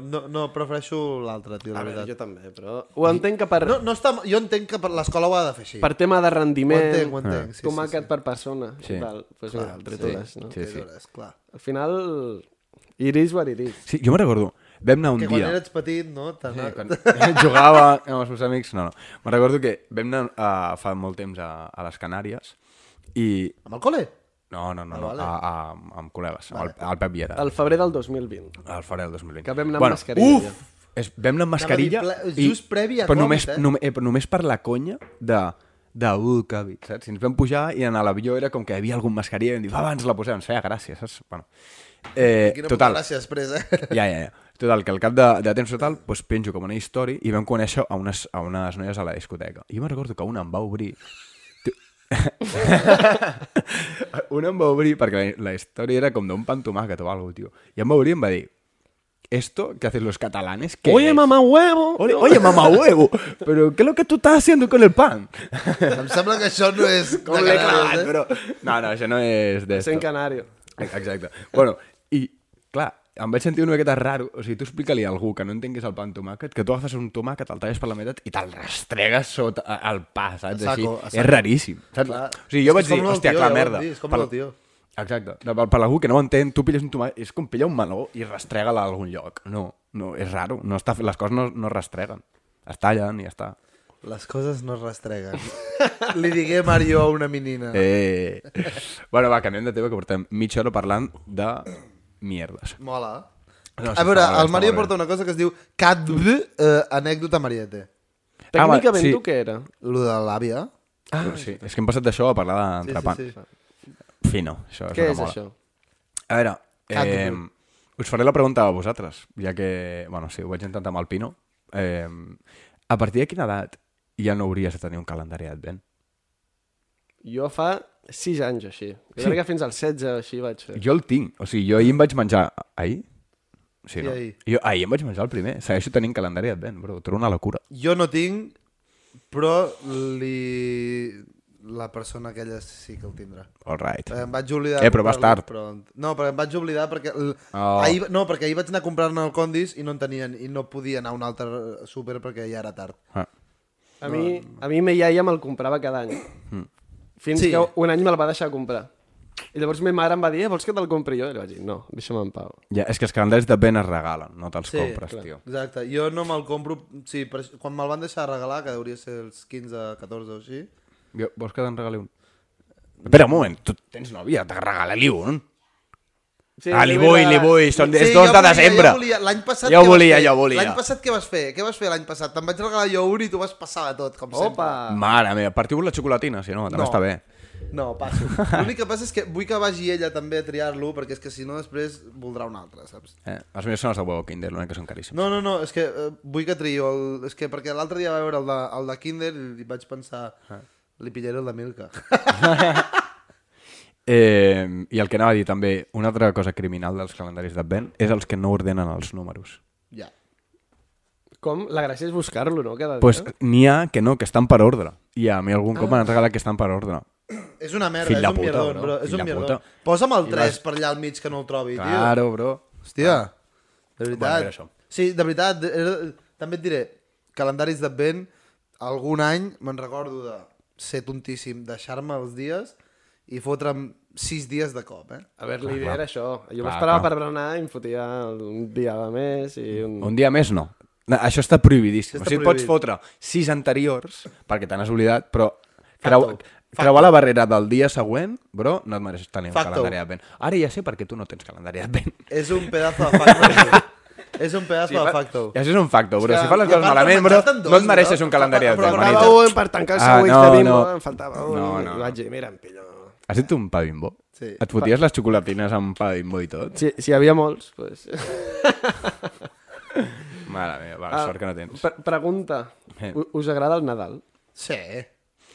S1: No, no, no prefereixo l'altre, tio, la
S5: A veure,
S1: veritat.
S5: jo també, però... Ho entenc que per,
S1: No, no està, jo entenc que per l'escola ho ha de fer així.
S5: per tema de rendiment,
S1: Ho entenc, ho entenc, sí, sí,
S5: tomàquet per persona
S2: Sí.
S5: i tal. Pues, clar, el tritures, no?
S2: Sí, sí.
S1: Aleshores, clar.
S5: Al final, iris what iris.
S2: Sí, jo me'n recordo. Vam anar un
S1: Que
S2: dia...
S1: quan eres petit, no? Tant,
S2: Sí,
S1: sí,
S2: quan jugava amb els meus amics, no, no. Me'n recordo que vam anar uh, fa molt temps a, a les Canàries i...
S1: Amb el col·le?
S2: No, no, no, no
S1: vale.
S2: a, a, amb- amb col·legues, vale. el, el Pep Viera.
S5: Al febrer del 2020.
S2: Al febrer del 2020.
S5: Que vam anar amb mascarilla, ja.
S2: Uf! És, vam anar amb mascarilla...
S1: Anava a dir, ple- just previ a
S2: però
S1: Covid,
S2: només,
S1: eh?
S2: Només, eh, però només per la conya de de uh, Covid, saps? Si ens vam pujar i en l'avió era com que hi havia algun mascarilla i vam dir, va, abans la posem, ens feia gràcia, saps? Bueno, eh,
S1: Quina puta
S2: total,
S1: gràcia després, eh?
S2: ja, ja, ja. Total, que al cap de, de temps total doncs, penjo com una història i vam conèixer a unes, a unes noies a la discoteca. I me'n recordo que una em va obrir... Tu- una em va obrir, perquè la, la història era com d'un pan tomàquet o alguna tio. I em va obrir i em va dir esto que hacen los catalanes Oh, que
S5: Oye, mamá huevo!
S2: Oye, oye, mamá huevo, pero ¿qué es lo que tú estás haciendo con el pan?
S1: em sembla que això no és...
S2: Com
S1: de
S2: l'he
S1: Canàries,
S2: clavat,
S1: eh?
S2: però... No, no, això no és d'esto.
S5: Sent canario.
S2: Exacte. Bueno, i clar, em vaig sentir una miqueta raro. O sigui, tu explica-li a algú que no entenguis el pa amb tomàquet, que tu agafes un tomàquet, el talles per la meitat i te'l rastregues sota a- al pa, saps?
S1: A saco, a saco.
S2: Així. És raríssim. Saps?
S1: Clar.
S2: O
S1: És
S2: sigui,
S1: que
S2: jo vaig
S1: és com
S2: dir,
S1: el
S2: hòstia,
S1: tio, ja
S2: clar,
S1: ho vam
S2: merda.
S1: dir, és com
S2: per-
S1: el tio.
S2: Exacte. De- Per, per algú que no ho entén, tu pilles un tomàquet, és com pillar un meló i rastrega'l a algun lloc. No, no, és raro. No està, les coses no, no es rastreguen. Es tallen i ja està.
S1: Les coses no es rastreguen. Li digué Mario a una menina.
S2: Eh. bueno, va, canviem de tema, que portem mitja hora parlant de mierdes.
S1: Mola.
S2: No, sí,
S1: a veure,
S2: està molt bé,
S1: el Mario
S2: està molt bé.
S1: porta una cosa que es diu Cat B, eh, anècdota Mariette.
S5: Tècnicament,
S2: Ah, sí.
S5: tu què era?
S1: Lo de l'àvia.
S2: Ah, sí. És que hem passat d'això a parlar d'entrepans.
S1: sí, sí.
S2: Fino, això.
S5: Què
S2: una
S5: és
S2: mola.
S5: això?
S2: A veure,
S1: Cat
S2: eh,
S1: Blue.
S2: us faré la pregunta a vosaltres, ja que, bueno, sí, ho vaig intentar amb el Pino. Eh, a partir de quina edat ja no hauries de tenir un calendari advent?
S5: Jo fa 6 anys o així. Jo crec que fins als 16 o així vaig fer.
S2: Jo el tinc, o sigui, jo ahir em vaig menjar... Ahir? Sí,
S1: Sí,
S2: no?
S1: ahir.
S2: Jo ahir em vaig menjar el primer. Segueixo tenint calendari advent, bro. Ho trobo una locura.
S1: Jo no tinc, però li... la persona aquella sí que el tindrà.
S2: All right.
S1: Em vaig oblidar...
S2: Eh, però vas
S1: comprar-lo,
S2: tard.
S1: Però... No, però em vaig oblidar perquè... l-
S2: Oh.
S1: Ahir... No, perquè ahir vaig anar a comprar-ne al Condis i no en tenien, i no podia anar a un altre súper perquè ja era tard.
S2: Ah.
S5: A
S2: Mm.
S5: mi, a mi me iaia me'l comprava cada any. Fins
S1: Sí.
S5: que un any me'l va deixar comprar. I llavors ma mare em va dir, eh, vols que te'l compri jo? I li vaig dir, no, deixa'm en pau.
S2: Ja, és que els calendaris de Ben es regalen, no te'ls
S1: Sí,
S2: compres,
S1: clar.
S2: tio.
S1: Exacte, jo no me'l compro... Sí, per, això- quan me'l van deixar regalar, que deuria ser els 15, 14 o així...
S2: Jo, vols que te'n regali un? Espera un moment, tu tens nòvia, te regala-li un.
S5: Sí,
S2: ah, li vull, li vull, són, és
S1: Sí,
S2: 2
S1: jo
S2: de
S1: volia,
S2: desembre.
S1: Jo volia, l'any passat...
S2: Jo
S1: què vas
S2: volia,
S1: fer?
S2: jo volia.
S1: L'any passat què vas fer? Què vas fer l'any passat? Te'n vaig regalar jo un i tu vas passar de tot, com
S5: Opa!
S2: Mare meva, partiu la xocolatina, si no, també
S1: No.
S2: està bé.
S1: sempre. No, passo. L'únic que passa és que vull que vagi ella també a triar-lo, perquè és que si no després voldrà un altre, saps?
S2: Eh, els meus són els de huevo Kinder, l'únic que són caríssims.
S1: No, no, no, és que eh, vull que triï el... És que perquè l'altre dia va veure el de, el de Kinder i vaig pensar...
S2: Ah.
S1: Li pillaré el de Milka.
S2: Eh, I el que anava a dir també, una altra cosa criminal dels calendaris d'advent és els que no ordenen els números.
S1: ja.
S5: Com? La gràcia és buscar-lo, no? Cada dia.
S2: Doncs pues, n'hi ha que no, que estan per ordre. I a mi algun
S1: Ah.
S2: cop m'han regalat que estan per ordre.
S1: És una merda,
S2: Fill
S1: és
S2: de
S1: un
S2: puta,
S1: mierdón,
S2: bro.
S1: bro. És
S2: Fill
S1: un
S2: de
S1: mierdón.
S2: puta.
S1: Posa'm el
S2: I
S1: 3
S2: vas-
S1: per allà al mig que no el trobi, tio.
S2: Claro, bro.
S1: Hòstia, de
S2: Bueno,
S1: veritat.
S2: era això.
S1: sí, de veritat, era- també et diré, calendaris d'advent, algun any me'n recordo de ser tontíssim, deixar-me els dies i fotre'm 6 dies de cop, eh?
S5: A veure, l'idea era això. Jo
S2: Clar,
S5: m'esperava
S2: clar.
S5: per berenar i em fotia un dia de més i un...
S2: Un dia més no. No, Això està prohibidíssim.
S1: Això
S2: Això
S1: està
S2: està o sigui, et pots
S1: prohibit.
S2: fotre sis anteriors, perquè te n'has oblidat, però creu, creuar la barrera del dia següent, bro, no et mereixes tenir un
S1: Facto.
S2: calendari d'advent. Ara ja sé per què tu no tens calendari d'advent.
S1: És un pedazo de facto. és un pedazo de facto.
S2: I això és un facto, bro.
S1: És que-
S2: Si fas les
S1: i
S2: coses
S1: apart
S2: malament,
S1: te'n
S2: bro,
S1: menjaven dos,
S2: no et mereixes
S1: bro.
S2: un calendari
S1: Em
S2: d'advent,
S1: faltava
S5: Faltava
S2: manita.
S5: un per tancar el
S2: Ah,
S5: següent
S2: no,
S5: de bimbo,
S2: no.
S5: em faltava un.
S2: No, no.
S5: I vaig dir, mira, em pillo...
S2: Has dit un pa bimbo?
S1: Sí.
S2: Et foties les xocolatines amb pa bimbo i tot?
S5: Si, si hi havia molts, doncs...
S2: Mare meva, va, sort que no tens.
S5: Pre Pregunta,
S2: Eh.
S5: U- us agrada el Nadal?
S1: Sí.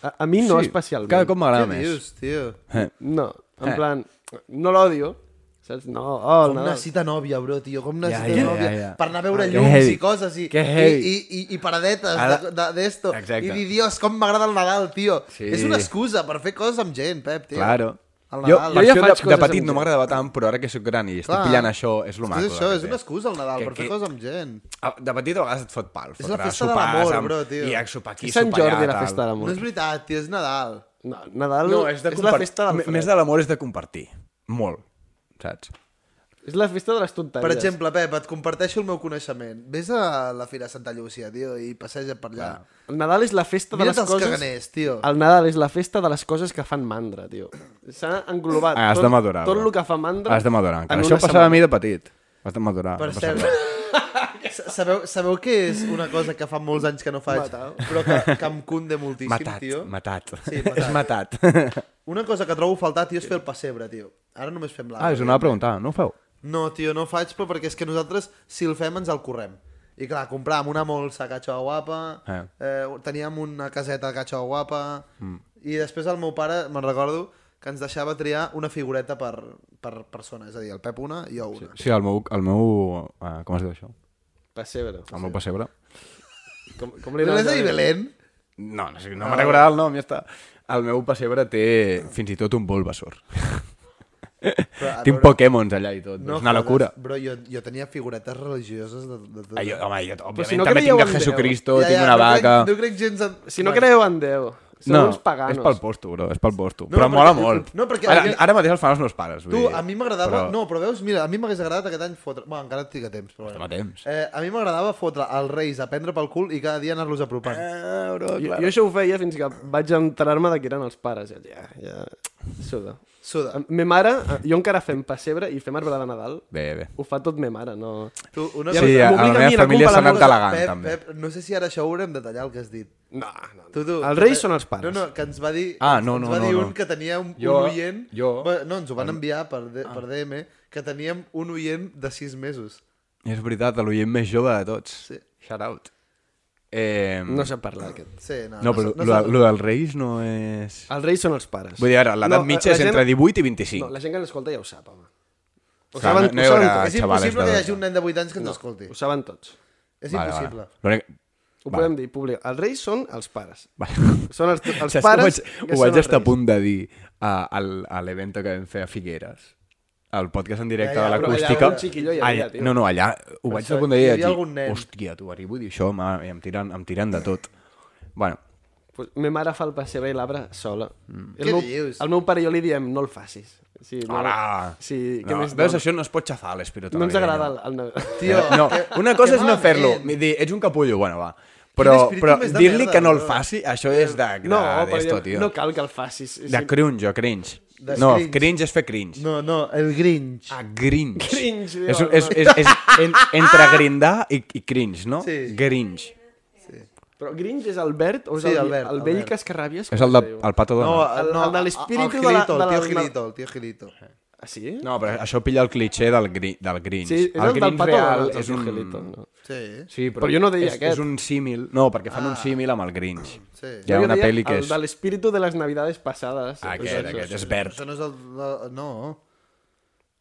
S5: A, a mi no
S2: Sí,
S5: especialment.
S2: Cada cop
S1: Què
S2: m'agrada més.
S1: dius, tio?
S2: Eh,
S5: No, en
S2: Eh.
S5: plan, no l'odio, saps? No, oh, el
S1: Com
S5: Nadal.
S1: necessita nòvia, bro, tio, com necessita
S2: ja,
S1: nòvia
S2: ja, ja.
S1: per anar a veure
S2: Que
S1: llums
S2: heavy.
S1: i coses i,
S2: Que
S1: i,
S2: heavy.
S1: i, i, i paradetes
S2: Ara-
S1: de- de- d'esto
S2: Exacte.
S1: i dir, Dios, com m'agrada el Nadal, tio.
S2: Sí.
S1: És una excusa per fer coses amb gent, Pep, tio.
S2: Claro.
S1: El
S2: Jo,
S1: Nadal.
S2: jo ja
S5: Jo ja
S2: això
S5: faig
S2: de, de
S5: coses
S2: petit
S5: amb
S2: no
S5: gent.
S2: m'agradava tant, però ara que sóc gran i estic
S1: Clar.
S2: pillant això, és lo
S1: És que
S2: maco.
S1: és això,
S2: del
S1: és
S2: que
S1: una
S2: té.
S1: excusa el Nadal
S2: Que-
S1: per fer
S2: que-
S1: coses amb gent.
S2: Ah, De petit a vegades et fot pal.
S1: la
S2: fotre
S1: festa de
S2: sopars
S1: l'amor,
S2: amb-
S1: bro, tio.
S2: I a sopar aquí,
S5: És Sant
S2: sopar allà,
S5: Jordi la
S2: tal.
S5: festa de
S1: No
S5: l'amor.
S1: és veritat, tio, és Nadal.
S5: No, Nadal
S2: No, és, de
S5: és la
S2: compar-
S5: festa del
S2: M-
S5: fred.
S2: Més de l'amor és de compartir. Molt, saps?
S5: És la festa de les tonteries.
S1: Per exemple, Pep, et comparteixo el meu coneixement. Vés a la Fira Santa Llúcia, tio, i passeja per allà.
S5: El Nadal és la festa de
S1: Mira't
S5: les
S1: els
S5: coses...
S1: caganers, tio.
S5: El Nadal és la festa de les coses que fan mandra, tio. S'ha englobat
S2: Ah, Has
S5: Ah, tot,
S2: de madurar.
S5: tot
S2: bro.
S5: el que fa mandra
S2: Has de madurar.
S5: en
S2: encara.
S5: una
S2: Això passava
S5: setmana.
S2: a mi de petit. Has de madurar.
S1: Per
S2: no passa
S1: cert,
S2: res.
S1: sa- sabeu, sabeu què és una cosa que fa molts anys que no faig,
S5: Matar.
S1: però que, que em cunde moltíssim,
S2: Matat,
S1: tio?
S2: matat.
S1: Sí, matat.
S2: És matat.
S1: Una cosa que trobo a faltar, tio, és fer el pessebre, tio. Ara només fem l'arbre.
S2: Ah, és una pregunta, no ho feu?
S1: No, tio, no ho faig, però perquè és que nosaltres, si el fem, ens el correm. I clar, compràvem una molsa a Cachoa Guapa, eh.
S2: Eh.
S1: Eh, teníem una caseta a Cachoa Guapa, mm. i després el meu pare, me'n recordo, que ens deixava triar una figureta per, per persona, és a dir, el Pep una i jo una.
S2: Sí, el meu... El meu eh, com es diu això?
S5: Pessebre.
S2: El meu pessebre?
S5: Com, com li
S1: Sí.
S5: diuen?
S1: L'Elesa i Belén,
S2: No, no, sé, no m'ha recordat el nom, ja està. El meu pessebre té fins i tot un Bulbasaur.
S1: Però, a
S2: Té un
S1: veure,
S2: Pokémons allà i tot. No, és una
S1: jodes,
S2: locura.
S1: Bro, jo, jo tenia figuretes religioses de, de tot.
S2: Ah, jo, home, jo, òbviament,
S5: si no
S2: també
S5: creieu
S2: tinc a
S5: en Déu.
S2: Jesucristo, ja, ja, tinc una
S1: no
S2: vaca...
S1: Crec, no crec gens... En...
S5: Si no creieu en Déu, sou
S2: No,
S5: uns paganos.
S2: és pel posto, bro, és pel posto.
S1: No,
S2: No, però
S1: perquè-
S2: mola molt.
S1: no, perquè-
S2: Ara, ara mateix el fan els meus pares. vull
S1: Tu,
S2: dir,
S1: a mi m'agradava...
S2: però-
S1: No, però veus, mira, a mi m'hagués agradat aquest any fotre... Bueno, encara tinc a temps, però...
S2: Estem a temps.
S1: Eh, a mi m'agradava fotre els reis a prendre pel cul i cada dia anar-los apropant.
S2: Ah, bro,
S5: Jo,
S2: clar.
S5: jo això ho feia fins que vaig enterar-me de que eren els pares. Ja, ja, ja. Suda.
S1: Suda,
S5: Em- Me mare, eh, jo encara fem pessebre i fem arbre de Nadal.
S2: Bé, bé.
S5: Ho fa tot me mare, no...
S1: tu, una
S5: Ja,
S2: Sí,
S5: m'obliga
S2: a, a la
S5: a mi, la
S2: meva
S5: culpa
S2: família
S5: la
S2: s'ha
S5: meva-
S2: anat elegant,
S1: Pep,
S2: també.
S1: Pep, no sé si ara això ho haurem de tallar el que has dit.
S5: No, no.
S1: Tu, tu,
S5: Els reis
S1: Pep-
S5: són els pares.
S1: No, no, que ens va dir,
S2: Ah, no,
S1: ens
S2: no,
S1: va
S2: no,
S1: dir
S2: no.
S1: un que tenia un,
S2: Jo-
S1: un oient...
S2: jo- Ah.
S1: Bé, No, ens ho van enviar per, de, per DM, que teníem un oient de 6 mesos.
S2: És veritat, l'oient més jove de tots.
S1: Sí.
S2: Shout out. Eh,
S5: No sap parlar, aquest.
S1: Sí, no,
S2: no, Ah, però
S1: no,
S2: lo,
S1: sé-
S2: lo dels Reis no és...
S5: Els reis són els pares.
S2: Vull dir, ara, l'edat
S5: No,
S2: mitja
S5: la
S2: és
S5: gent-
S2: entre 18 i 25.
S5: No, la gent que l'escolta ja ho sap, home. Ho
S2: Clar,
S5: saben,
S2: no
S5: ho
S2: hi
S5: saben
S2: haurà-
S5: tots.
S1: és
S2: xavales
S1: impossible que
S2: de
S1: hi hagi un nen de 8 anys que ens escolti.
S5: Ho saben tots.
S1: És impossible.
S2: Vale.
S5: Ho
S2: Va.
S5: podem dir, públic. Els reis són els pares.
S2: Vale.
S5: Són els, els
S2: Saps
S5: pares
S2: que
S5: que
S2: Ho vaig, ho vaig
S5: són els
S2: estar a
S5: reis.
S2: punt de dir a, a, a l'event que vam fer a Figueres. El podcast en directe
S1: Ja, ja,
S2: de
S1: però allà
S2: l'acústica.
S5: un xiquillo hi havia,
S2: allà-
S5: tio.
S2: No, no, allà ho vaig
S1: això,
S2: estar a punt de dir.
S1: hi
S2: i
S1: havia
S2: vaig dir,
S1: algun nen.
S2: Hòstia, tu arribo i dic això, mare, meva, em tiren, em tiren de tot. Bueno,
S5: Pues, ma mare fa el pessebre i l'arbre sola. Mm.
S1: Què
S5: El, meu,
S1: dius?
S5: el meu pare i jo li diem, no el facis. Sí, no,
S2: Hola!
S5: Sí, què
S2: no,
S5: més
S1: doncs?
S2: veus,
S5: dona?
S2: això eh? no es pot xafar a l'espiritualitat.
S5: No ens agrada el, el... Tio,
S1: Tio,
S2: Eh, No,
S1: que-
S2: una
S1: que
S2: cosa és no
S1: malament.
S2: fer-lo. Dir, ets un capullo, bueno, va. Però,
S1: espíritu
S2: però
S1: més de
S2: dir-li
S1: merda,
S2: que no el
S1: bro.
S2: faci, això és de... de
S5: no, però
S2: esto, tio.
S5: no cal que el facis. És
S2: De crunge o cringe.
S1: De
S2: no,
S1: cringe.
S2: cringe. és fer cringe.
S1: No, no, el Grinch.
S2: Ah, gringe.
S5: Cringe,
S2: És,
S5: diu,
S2: és, és, és en, entre grindar i, i cringe, no?
S1: Sí.
S2: Gringe.
S5: Però Grinch és el verd o és
S1: Sí,
S5: el,
S1: el verd,
S5: el
S1: el
S5: vell
S1: verd.
S5: que es carràbies?
S2: És el, de, el pato
S1: No,
S2: Donald.
S5: el-
S1: no,
S5: el de l'espíritu
S1: el
S5: de la-
S1: Gilito,
S5: de
S1: el
S5: la-
S1: tio Gilito, el tio Gilito.
S5: Ah, sí?
S2: No, però això pilla el cliché del, gri, del gringe.
S5: Sí, és el, el del
S2: Grinch
S5: pató.
S2: real
S5: del
S2: és un...
S5: Angelito, no?
S1: Sí,
S2: Sí, però,
S5: Però jo no deia
S2: és,
S5: aquest.
S2: És un símil... No, perquè fan un símil amb el Grinch.
S1: sí.
S2: Hi ha
S5: Jo
S2: una
S5: deia
S2: pel·li que
S5: el
S2: és... Ah,
S5: de l'espíritu de les navidades passades.
S2: Aquest, aquest, és verd.
S1: Això no és el... la- No.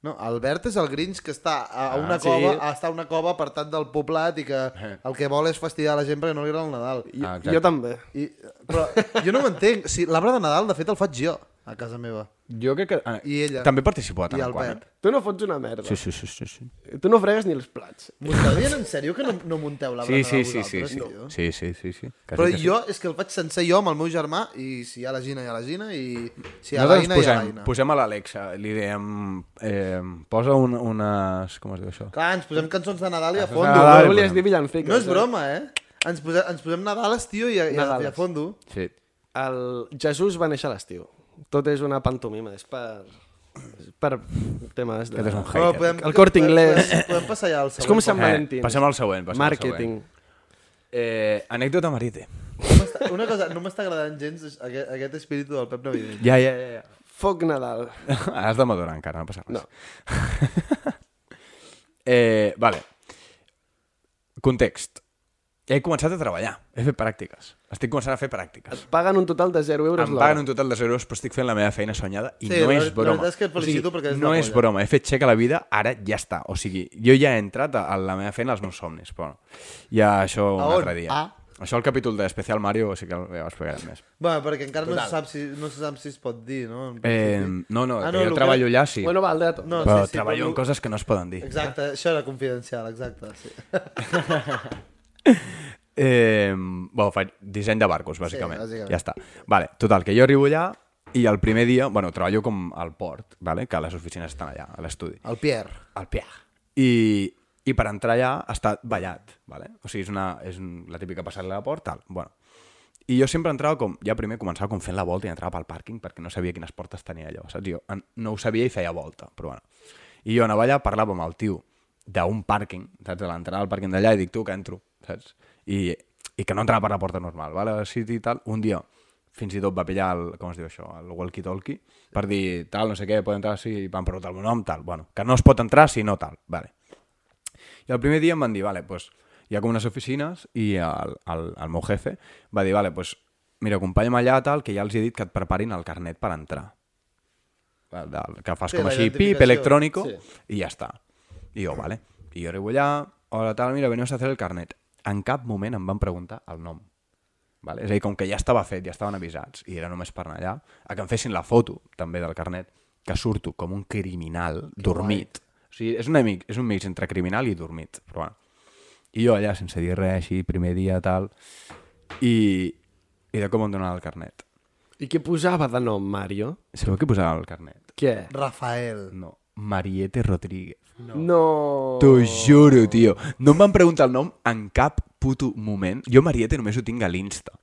S1: No, Albert és el Grinch que està a a una
S5: Ah, sí.
S1: cova, està a una cova apartat del poblat i que el que vol és fastidiar la gent perquè no li agrada el Nadal. I,
S2: Ah,
S5: Jo també.
S1: i, però jo no ho entenc. Si l'arbre de Nadal, de fet, el faig jo a casa meva.
S2: Jo crec que... Ah,
S1: I ella.
S2: També participo de
S1: I
S2: tant en
S1: el
S2: quant.
S1: Pep.
S5: Tu no fots una merda.
S2: Sí, sí, sí, sí. Sí, Ah,
S5: Tu no fregues ni els plats.
S1: Muntarien en sèrio que no, no munteu l'arbre
S2: sí,
S1: de
S2: sí,
S1: Nadal
S2: sí, sí,
S1: vosaltres,
S2: sí.
S1: tio?
S2: Sí, sí, sí, sí. Quasi
S1: Però
S2: que sí.
S1: jo és que el faig sencer jo amb el meu germà i si hi ha la Gina, hi ha la Gina i si hi ha
S2: Nosaltres
S1: l'Aina, hi ha
S2: posem,
S1: l'Aina.
S2: posem a l'Alexa, li diem... Eh, posa un, unes... Com es diu això?
S1: Clar, ens posem cançons de Nadal i a
S2: de
S1: fondo.
S2: Nadal.
S5: No
S2: li
S5: volies
S2: posem.
S5: dir villanciques.
S1: No és
S5: eh?
S1: broma, eh? Ens posem, ens posem Nadales, tio, i a, i a, i a
S5: Nadales.
S1: fondo.
S2: Sí.
S5: El Jesús va néixer a l'estiu. Tot és una pantomima, és per... és per temes de...
S2: Aquest és un
S1: Però
S2: hater.
S1: podem,
S5: El Corte
S1: podem-
S5: Inglés.
S1: Podem, podem passar ja al següent.
S5: És com Sant
S2: Eh,
S5: Valentí.
S2: passem al següent, passem al
S5: Marketing.
S2: següent. Eh, anècdota marite.
S1: No m'està- Una cosa, no m'està agradant gens aquest, aquest espíritu del Pep Navident.
S2: Ja, ja, ja. ja.
S5: Foc Nadal.
S2: Has de madurar encara, no passa res.
S5: No.
S2: eh, vale. Context. He començat a treballar. He fet pràctiques. Estic començant a fer pràctiques.
S5: Et paguen un total de 0 euros
S2: Em paguen un total de 0 euros, però estic fent la meva feina soñada i
S1: Sí,
S2: no
S1: la-
S2: és
S1: la
S2: broma.
S1: veritat és que et felicito perquè és
S2: no
S1: la
S2: és
S1: polla.
S2: broma. He fet xec a la vida, ara ja està. O sigui, jo ja he entrat a, a la meva feina als meus somnis, però ja això un
S1: A on?
S2: altre dia.
S1: Ah.
S2: Això el capítol d'Especial Mario sí que ja ho explicarem més.
S1: Bé, perquè encara no se, sap si, no se sap si es pot dir, no? En
S2: Eh,
S1: principi.
S2: no, no,
S1: Ah, no,
S2: ah, no
S1: el
S2: jo
S1: que-
S2: treballo allà, sí,
S5: Bueno, val, de tot.
S1: No,
S2: però
S1: sí, sí,
S2: treballo
S1: però
S2: en coses que no es poden dir.
S1: Exacte, això era confidencial, exacte. Sí.
S2: Eh, bueno, faig disseny de barcos, bàsicament. Sí,
S1: bàsicament.
S2: bàsicament. Ja està. Vale, total, que jo arribo allà i el primer dia, bueno, treballo com al port, vale? que les oficines estan allà, a l'estudi.
S1: El Pierre.
S2: al Pierre. I, I per entrar allà està ballat, vale? o sigui, és, una, és un, la típica passar-la a la porta, tal. Bueno. I jo sempre entrava com, ja primer començava com fent la volta i entrava pel pàrquing perquè no sabia quines portes tenia allò, saps? Jo en- no ho sabia i feia volta, però bueno. I jo anava allà, parlava amb el tio d'un pàrquing, saps? De l'entrada al pàrquing d'allà i dic tu que entro, saps? I, i que no entrava per la porta normal, vale? Sí, i tal. Un dia fins i tot va pillar el, com es diu això, el walkie-talkie, per dir tal, no sé què, pot entrar, sí, i van preguntar el meu nom, tal, bueno, que no es pot entrar si no tal, vale. I el primer dia em van dir, vale, pues, hi ha com unes oficines i el, el, el meu jefe va dir, vale, pues, mira, acompanya'm allà, tal, que ja els he dit que et preparin el carnet per entrar. El, del- que fas
S1: Sí,
S2: sí, com
S1: la
S2: així, pip,
S1: identificació.
S2: electrònico,
S1: Sí.
S2: sí. i ja està. I jo, vale. I jo arribo allà, hola, tal, mira, veniu a fer el carnet. En cap moment em van preguntar el nom. Vale? És a dir, com que ja estava fet, ja estaven avisats, i era només per anar allà, a que em fessin la foto, també, del carnet, que surto com un criminal dormit. O sigui, és, una, mic- és un mix entre criminal i dormit. Però bueno. I jo allà, sense dir res, així, primer dia, tal... I, i de com em donava el carnet.
S5: I què posava de nom, Mario?
S2: Sabeu què posava el carnet?
S5: Què?
S1: Rafael.
S2: No. Mariete Rodríguez.
S5: No. no.
S2: T'ho juro, tio. No em van preguntar el nom en cap puto moment. Jo Mariette només ho tinc a l'Insta.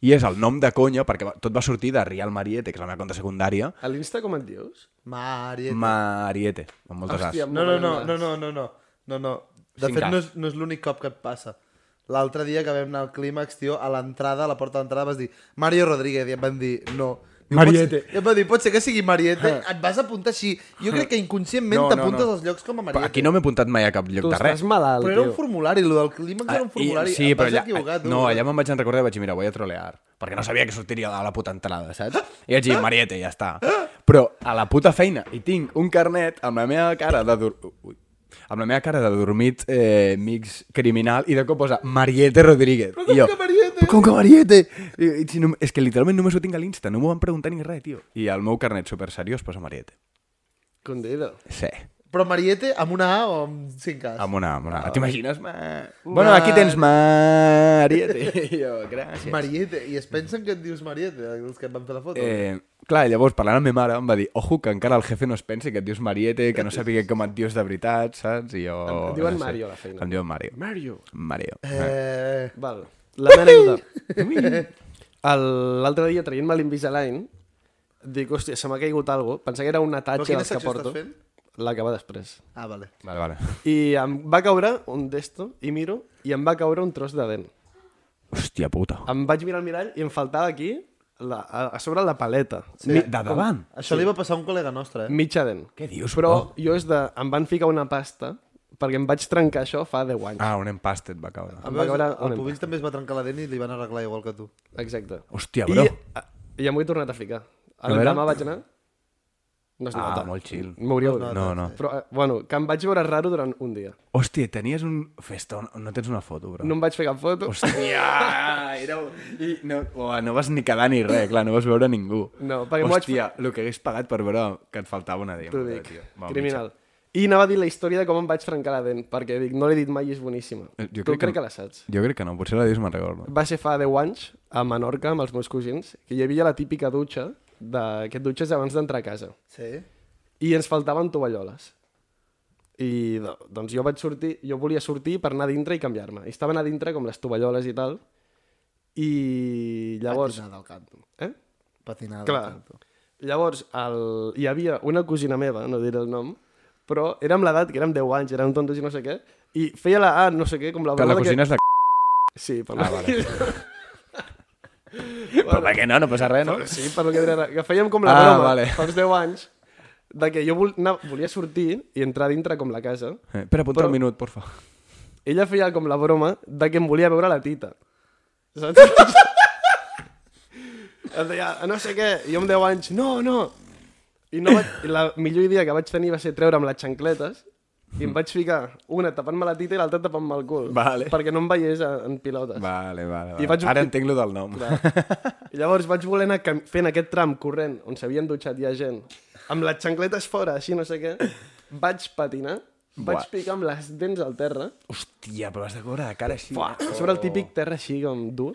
S2: I és el nom de conya, perquè va- tot va sortir de Real Mariette, que és la meva conta secundària.
S5: A l'Insta com et dius?
S1: Marieta.
S2: Mm. Mariette, amb moltes
S5: Hòstia,
S2: as.
S1: No, no, no, no, no, no, no, no, no. De
S2: Cinc
S1: fet, no
S2: anys.
S1: és, no és l'únic cop que et passa. L'altre dia que vam anar al clímax, tio, a l'entrada, a la porta d'entrada, vas dir Mario Rodríguez, i em van dir no. Diu,
S2: Mariette.
S1: Pots, i em van dir, pot ser que sigui Mariette, et vas apuntar així. Jo crec que inconscientment no,
S2: No, no,
S1: t'apuntes
S2: no.
S1: als llocs com a
S2: Però
S1: Mariette.
S2: Aquí no m'he apuntat mai a cap lloc
S5: Tu
S2: de res.
S5: estàs malalt,
S1: Però era un
S5: tio.
S1: formulari, el del clímax era un
S2: Ah,
S1: formulari.
S2: I, sí,
S1: et
S2: però
S1: vas
S2: allà,
S1: equivocar, tu.
S2: no, allà me'n vaig recordar i vaig dir, mira, voy a trolear. Perquè no sabia que sortiria a la puta entrada, saps? I vaig dir, Mariette, ja està. Però a la puta feina, i tinc un carnet amb la meva cara de... Dur... Ui, amb la meva cara de dormit eh, mix criminal i de cop posa Mariette Rodríguez. Però com jo, que Mariette? Com que Mariette? I, i, si no, és que literalment només ho tinc a l'Insta, no m'ho van preguntar ni res, tio. I el meu carnet super seriós posa Mariette.
S5: Condido.
S2: Sí.
S1: Però Mariette amb una A o amb cinc As?
S2: Amb una, amb una. T'imagines? Ma... Bueno, aquí tens Mariette. jo, gràcies.
S1: Mariette. I es pensen que et dius Mariette, els que et van fer la foto.
S2: Eh, clar, llavors parlant amb ma mare em va dir ojo que encara el jefe no es pensi que et dius Mariette, que no sàpiga com et dius de veritat, saps? I jo...
S5: Em diuen
S2: no sé.
S5: Mario a la feina.
S2: Em diuen Mario.
S5: Mario.
S2: Mario.
S1: Eh...
S5: Val. La meva anècdota. El- L'altre dia, traient-me l'Invisalign, dic, hòstia, se m'ha caigut alguna cosa. Pensava que era un
S1: Però
S5: atatge
S1: quina
S5: dels que
S1: secció
S5: porto.
S1: estàs fent?
S5: La que va després.
S1: Ah, vale.
S2: Vale, vale.
S5: I em va caure un d'esto, i miro, i em va caure un tros de dent.
S2: Hòstia puta.
S5: Em vaig mirar al mirall i em faltava aquí, la, a a sobre la paleta,
S2: Sí. Mm, Mi, de davant?
S1: Això li va passar a un col·lega nostre, eh?
S5: mitja dent.
S2: Què dius,
S5: Però
S2: bro?
S5: jo és de... Em van ficar una pasta perquè em vaig trencar això fa 10 anys.
S2: Ah, un empast et va caure.
S5: Em va
S1: Veus,
S5: caure
S1: el
S5: un
S1: Pubill també es va trencar la dent i li van arreglar igual que tu.
S5: Exacte.
S2: Hòstia,
S5: I,
S2: bro.
S5: a- I ja m'ho he tornat a ficar.
S2: A veure.
S5: L'endemà vaig anar... No es
S2: Ah,
S5: nota.
S2: molt chill.
S5: M'hauria
S2: No,
S5: no,
S2: no. no.
S5: Però, eh, bueno, que em vaig veure raro durant un dia.
S2: Hòstia, tenies un... Festa, no tens una foto, bro.
S5: No em vaig fer cap foto.
S2: Hòstia, era... un- I no, uah, no vas ni quedar ni res, clar, no vas veure ningú.
S5: No, perquè m'ho vaig
S2: Hòstia, el que hagués pagat per veure que et faltava una dent.
S5: T'ho
S2: brother,
S5: dic.
S2: tio. Va,
S5: Criminal. I anava a dir la història de com em vaig trencar la dent, perquè dic, no l'he dit mai i és boníssima.
S2: Eh, jo
S5: tu crec
S2: crec
S5: que,
S2: que-
S5: que la saps.
S2: mitja. Jo crec que no, potser la dius me'n recordo.
S5: Va ser fa 10 anys, a Menorca, amb els meus cosins, que hi havia la típica dutxa, de... que et dutxes abans d'entrar a casa.
S1: Sí.
S5: I ens faltaven tovalloles. I do- doncs jo vaig sortir, jo volia sortir per anar a dintre i canviar-me. I estaven a dintre com les tovalloles i tal. I llavors...
S1: Patinada al canto.
S5: Eh?
S1: Patinada al
S5: Clar.
S1: canto.
S5: Llavors, el... hi havia una cosina meva, no diré el nom, però érem l'edat, que érem 10 anys, érem tontos i no sé què, i feia la A, no sé què, com la
S2: Però la
S5: broma
S2: cosina és de c***,
S5: Que... Sí, per la... Ah, vale.
S2: però per què no? No passa res, no?
S5: Sí, per lo que diré ara. Que fèiem com la
S2: Ah,
S5: broma,
S2: vale.
S5: fa uns 10 anys, de que jo vol... anar... volia sortir i entrar dintre com la casa.
S2: Eh, espera, apunta
S5: Però-
S2: un minut, porfa.
S5: Ella feia com la broma de que em volia veure la tita. Saps? em deia, no sé què, i jo amb 10 anys, no, no. I no vaig, i la millor idea que vaig tenir va ser treure'm les xancletes i em vaig ficar una tapant-me la tita i l'altra tapant-me el cul.
S2: Vale.
S5: Perquè no em veiés en en pilotes.
S2: Vale, vale, vale.
S5: I vaig-
S2: Ara entenc lo del nom.
S5: I llavors vaig voler anar cam- fent aquest tram corrent on s'havien dutxat ja gent, amb les xancletes fora, així no sé què, vaig patinar, vaig
S2: Buah.
S5: picar amb les dents al terra,
S2: Hòstia, però has de córrer de cara així.
S5: Fuà, sobre el típic terra així com dur.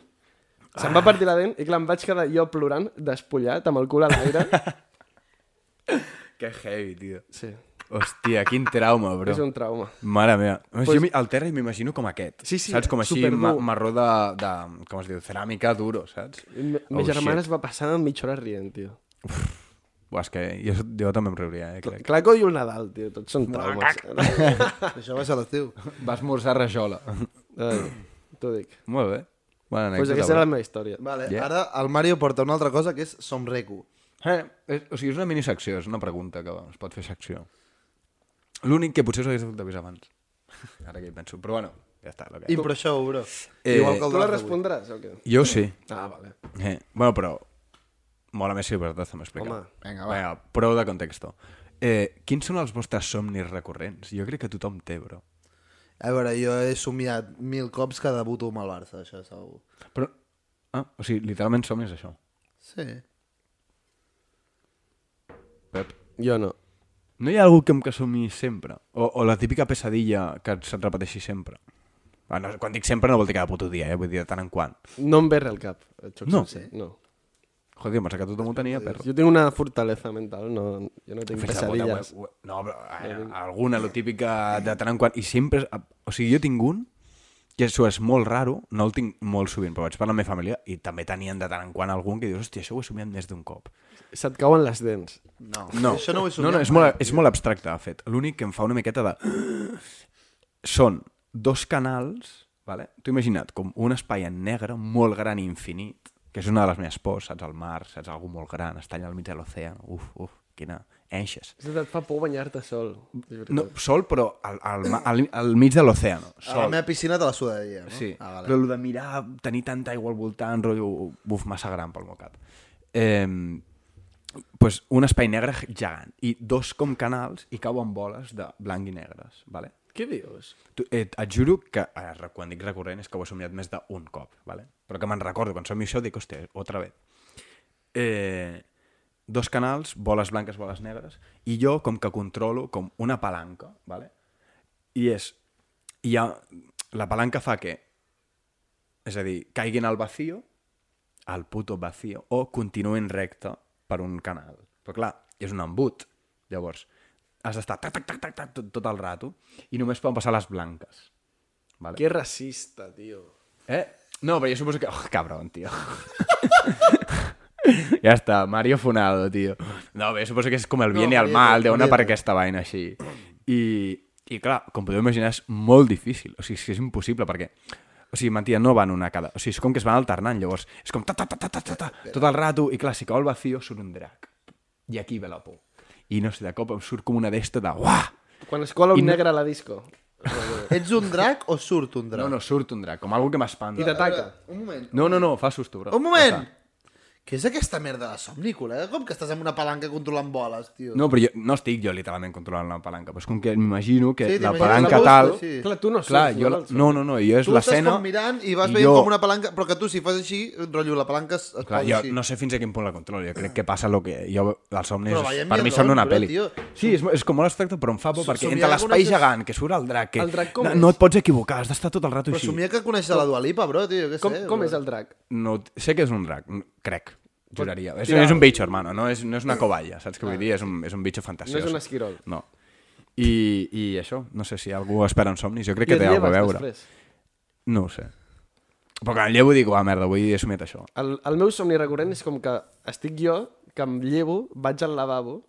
S5: Se'm va partir la dent i clar, em vaig quedar jo plorant, despullat, amb el cul a l'aire.
S2: Que heavy, tio.
S5: Sí,
S2: Hòstia, quin trauma, bro.
S5: és un trauma.
S2: Mare meva. Pues... Jo mi- el terra m'imagino com aquest.
S5: Sí, sí,
S2: Saps? Com així,
S5: superdur.
S2: ma marró de, de... Com es diu? Ceràmica duro, saps?
S5: Me, oh, ma germana es va passar mitja hora rient, tio.
S2: Buah, és que jo, jo també em riuria, eh, crec.
S5: Clar que odio el Nadal, tio, tots són traumes.
S1: Això va ser l'estiu.
S2: Va esmorzar rajola.
S5: Ai, Eh, T'ho dic.
S2: Molt bé. Bona
S5: Doncs pues
S2: anècdota.
S5: aquesta era la meva història.
S1: Vale, yeah.
S2: Yeah.
S1: ara el Mario porta una altra cosa que és Somreku.
S2: Eh, és, o sigui, és una minisecció, és una pregunta que es pot fer secció. L'únic que potser us hagués hagut d'avisar abans. Ara que hi penso. Però bueno, ja està. El que...
S1: Impro show, bro.
S2: Eh,
S1: Igual que el
S5: Tu la
S1: draft d'avui.
S5: respondràs o què?
S2: Jo sí.
S5: Ah, vale.
S2: Eh, bueno, però... Mola més si ho verdad m'ho explica.
S5: Home,
S2: vinga, va. Vinga, prou de contexto. Eh, quins són els vostres somnis recurrents? Jo crec que tothom té, bro.
S1: A veure, jo he somiat mil cops que debuto amb el Barça, això segur.
S2: Però... Ah, o sigui, literalment somnis això.
S1: Sí.
S2: Pep.
S5: Jo no.
S2: No hi ha algú que em que somi sempre? O, o la típica pesadilla que se't repeteixi sempre? Ah, no, quan dic sempre no vol dir cada puto dia, eh? vull dir de tant en quant.
S5: No em ve res al cap. Et xocs
S2: No.
S5: sencer. No.
S2: Joder, tota pensava que tothom ho tenia, perro.
S5: Jo tinc una fortalesa mental, no, jo no tinc
S2: Fins a puta,
S5: pesadilles.
S2: ué, ué. No, però eh, alguna, lo típic que de tant en quant. I sempre... és- O sigui, jo tinc un, que això és molt raro, no el tinc molt sovint, però vaig parlar amb la meva família i també tenien de tant en quant algun que dius, hòstia, això ho he somiat més d'un cop.
S5: Se't cauen les dents.
S1: No,
S2: No,
S1: això no ho he
S2: no,
S1: somiat.
S2: no és, molt, és molt abstracte, de fet. L'únic que em fa una miqueta de... Són dos canals, vale? t'ho imagina't, com un espai en negre molt gran i infinit, que és una de les meves pors, saps? El mar, saps? Algú molt gran, està allà al mig de l'oceà. Uf, uf, quina... Enxes.
S5: És que et fa por banyar-te sol. és veritat.
S2: No, sol, però al, al, ma- al, al mig de l'oceano.
S1: A la
S2: Sol.
S1: meva piscina te la sudaria, no?
S2: Sí,
S1: Ah, vale.
S2: però el de mirar, tenir tanta aigua al voltant, rotllo, buf, massa gran pel meu cap. Eh, pues un espai negre gegant i dos com canals i cauen boles de blanc i negres, vale?
S5: Què dius?
S2: Tu, et, et juro que eh, re- quan dic recurrent és que ho he somiat més d'un cop, vale? però que me'n recordo, quan somio això dic, hòstia, otra vez. Eh, dos canals, boles blanques, boles negres, i jo com que controlo com una palanca, ¿vale? i és... I ha, la palanca fa que, és a dir, caiguin al vacío, al puto vacío, o continuïn recte per un canal. Però clar, és un embut. Llavors, has d'estar tac, tac, tac, tac, tac, tot, tot el rato, i només poden passar les blanques. Vale?
S5: Que racista, tio.
S2: Eh? No, però jo suposo que... Oh, cabrón, tio. ja està, Mario Funado, tio. No, bé, suposo que és com el bien no, i el
S1: Marieta,
S2: mal, deu anar per
S1: Marieta.
S2: aquesta vaina així. I, I clar, com podeu imaginar, és molt difícil. O sigui, és que és impossible, perquè... O sigui, mentida, no van una cada... O sigui, és com que es van alternant, llavors. És com ta, ta, ta, ta, ta, ta, ta tot el rato, i clar, si cau el vacío, surt un drac. I aquí ve la por. I no sé, de cop em surt com una d'esta de... Uah!
S5: Quan es cola un
S2: I no-
S5: negre a la disco.
S1: Ets un drac o surt un drac?
S2: No, no, surt un drac, com algo que m'espanta.
S5: I t'ataca.
S1: Un moment.
S2: No, no, no, fa susto, bro.
S1: Un moment!
S2: Ja està.
S1: Què és aquesta merda de somnícola, eh? Com que estàs amb una palanca controlant boles, tio?
S2: No, però jo, no estic jo literalment controlant la palanca, però és com que m'imagino que
S1: Sí,
S2: sí, la
S1: t'imagines la
S2: palanca
S1: bosta,
S2: tal...
S1: sí.
S5: Clar, tu no
S2: clar,
S5: surts,
S2: jo,
S5: no,
S2: la-
S5: del sol.
S2: no, no, no, jo és
S1: Tu estàs
S2: l'escena...
S1: com mirant i vas
S2: i
S1: veient
S2: jo-
S1: com una palanca... Però que tu, si fas així, rotllo, la palanca es, es
S2: Clar,
S1: posa
S2: jo
S1: així.
S2: no sé fins a quin punt la controlo, jo crec que passa el que... Jo, els somnis,
S1: Però veiem
S2: per mi
S1: Biodrome,
S2: són una
S1: però,
S2: pel·li.
S1: tio,
S2: Sí, és, és com molt abstracte, però em fa por, perquè
S1: somniar
S2: entre l'espai
S1: algunes-
S2: gegant, que surt el drac, que
S5: El drac com
S2: no,
S5: és?
S2: no et pots equivocar, has d'estar tot el rato
S1: Però
S2: així.
S1: somia que coneixes la Dua Lipa, bro, tio, què
S5: Com,
S1: sé.
S5: com
S1: bro.
S5: és el drac?
S2: No, sé que és un drac, n- crec, juraria. És,
S5: tirar- Ah.
S2: és un bitxo, hermano, no és, no és una cobaya, saps què vull dir? És un, és un bitxo fantasiós.
S5: No és un esquirol.
S2: No. I, I això, no sé si algú espera en somnis, jo crec
S5: I
S2: que
S5: et
S2: té alguna
S5: lleves
S2: a veure.
S5: després.
S2: No ho sé. Però quan llevo dic, ah, merda, avui he somiat això.
S5: El, el meu somni recurrent és com que estic jo, que em llevo, vaig al lavabo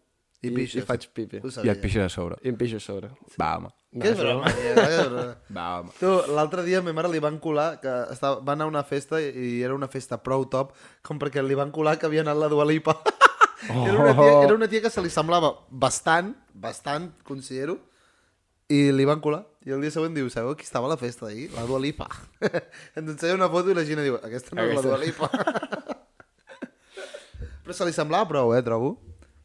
S1: I pixes.
S5: i faig pipi.
S1: Ho
S2: I
S1: sabia.
S2: et pixa de sobre.
S5: I em pixo a sobre.
S2: Va, home.
S1: Què és broma, tio, què és broma?
S2: Va, home.
S1: Tu, l'altre dia a ma mare li van colar que estava, va anar a una festa i era una festa prou top com perquè li van colar que havia anat la Dua Lipa. Oh. Era, una tia, era una tia que se li semblava bastant, bastant, considero, i li van colar. I el dia següent diu, sabeu qui estava a la festa d'ahir? La Dua Lipa. Ens ensenya una foto i la Gina diu, aquesta no és la
S5: Aquesta.
S1: Dua Lipa. però se li semblava prou, eh, trobo.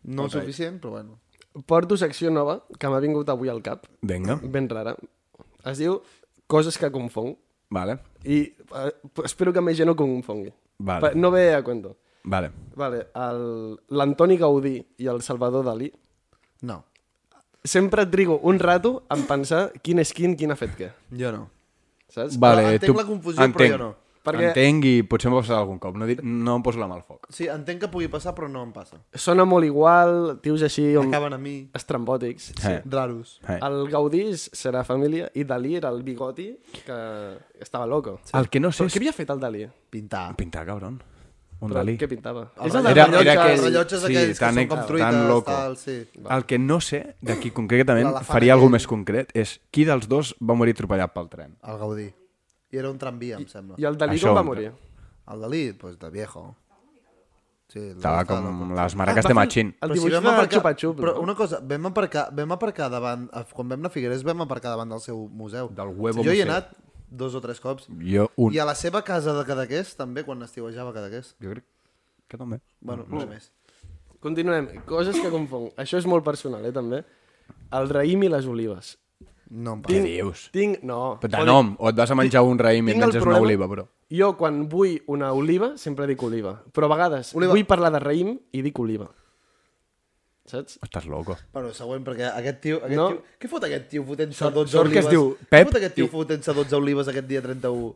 S1: No okay. suficient, però bueno.
S5: Porto secció nova que m'ha vingut avui al cap,
S2: Vinga.
S5: ben rara. Es diu Coses que confong
S2: Vale.
S5: i eh, espero que més gent ho confongui.
S2: Vale.
S5: Per- No ve a cuento.
S2: Vale.
S5: Vale, el- l'Antoni Gaudí i el Salvador Dalí
S1: No,
S5: sempre trigo un rato en pensar quin és quin, quin ha fet què,
S1: jo no.
S5: saps?
S2: Vale,
S1: entenc la confusió, però jo no.
S5: Perquè-
S2: Entenc i potser m'ho passarà algun cop. No, dic, no em poso la mà al foc.
S1: Sí, entenc que pugui passar, però no em passa.
S5: Sona molt igual, tios així on...
S1: Acaben a mi.
S5: estrambòtics.
S2: Sí.
S1: Raros.
S2: Eh.
S5: El Gaudí és- serà família i Dalí era el bigoti que estava loco.
S2: El que no sé
S5: Però què
S2: és...
S5: havia fet el Dalí?
S1: Pintar.
S2: Pintar, cabron. Un
S5: Però
S2: Dalí.
S5: Què pintava?
S1: Els
S5: el
S2: Era-
S5: del
S2: era
S5: rellotge-
S2: aquell-
S1: rellotges
S2: sí,
S1: aquells que
S2: tan
S1: són
S2: ex-
S1: com
S2: tan
S1: truites,
S2: loco.
S1: tal, sí.
S2: El que no sé, d'aquí concretament,
S1: L'elefant
S2: faria
S1: aquell.
S2: alguna més concret, és qui dels dos va morir atropellat pel tren?
S1: El Gaudí. I era un tramvia, em sembla.
S5: I el Dalí
S2: Això
S5: com va
S2: em-
S5: morir?
S1: El Dalí, doncs de viejo. Sí, el
S2: Estava
S1: Dalí loco.
S2: com les maraques de Machín.
S5: El
S1: Però
S5: dibuix
S1: vam
S5: de
S1: aparcar-
S5: Chupa Chup,
S1: Però
S5: no?
S1: una cosa, vam aparcar, vam aparcar davant, a- quan vam anar a Figueres vam aparcar davant del seu museu.
S2: Del huevo
S1: jo hi he
S2: museu.
S1: anat dos o tres cops.
S2: Jo, un.
S1: I a la seva casa de Cadaqués, també, quan estiuejava a Cadaqués.
S2: Jo crec que també.
S1: Bueno,
S2: Mm.
S1: no sé més.
S5: Continuem. Coses que confong. Això és molt personal, eh, també. El raïm i les olives.
S1: No em
S2: Què
S1: passa.
S2: dius?
S5: Tinc... No.
S2: Però de
S5: Joder,
S2: nom, o et vas a menjar un raïm i et
S5: tinc el
S2: menges una
S5: problema-
S2: oliva, bro.
S5: Jo, quan vull una oliva, sempre dic oliva. Però a vegades
S1: Oliva.
S5: vull parlar de raïm i dic oliva. Saps?
S2: Estàs loco.
S1: Bueno, següent, perquè aquest tio... Aquest
S5: No.
S1: no. tio què fot aquest tio fotent-se 12
S2: sort que es
S1: olives?
S2: diu
S1: Què
S2: Pep
S1: fot aquest tio
S2: i-
S1: fotent-se 12 olives aquest dia 31?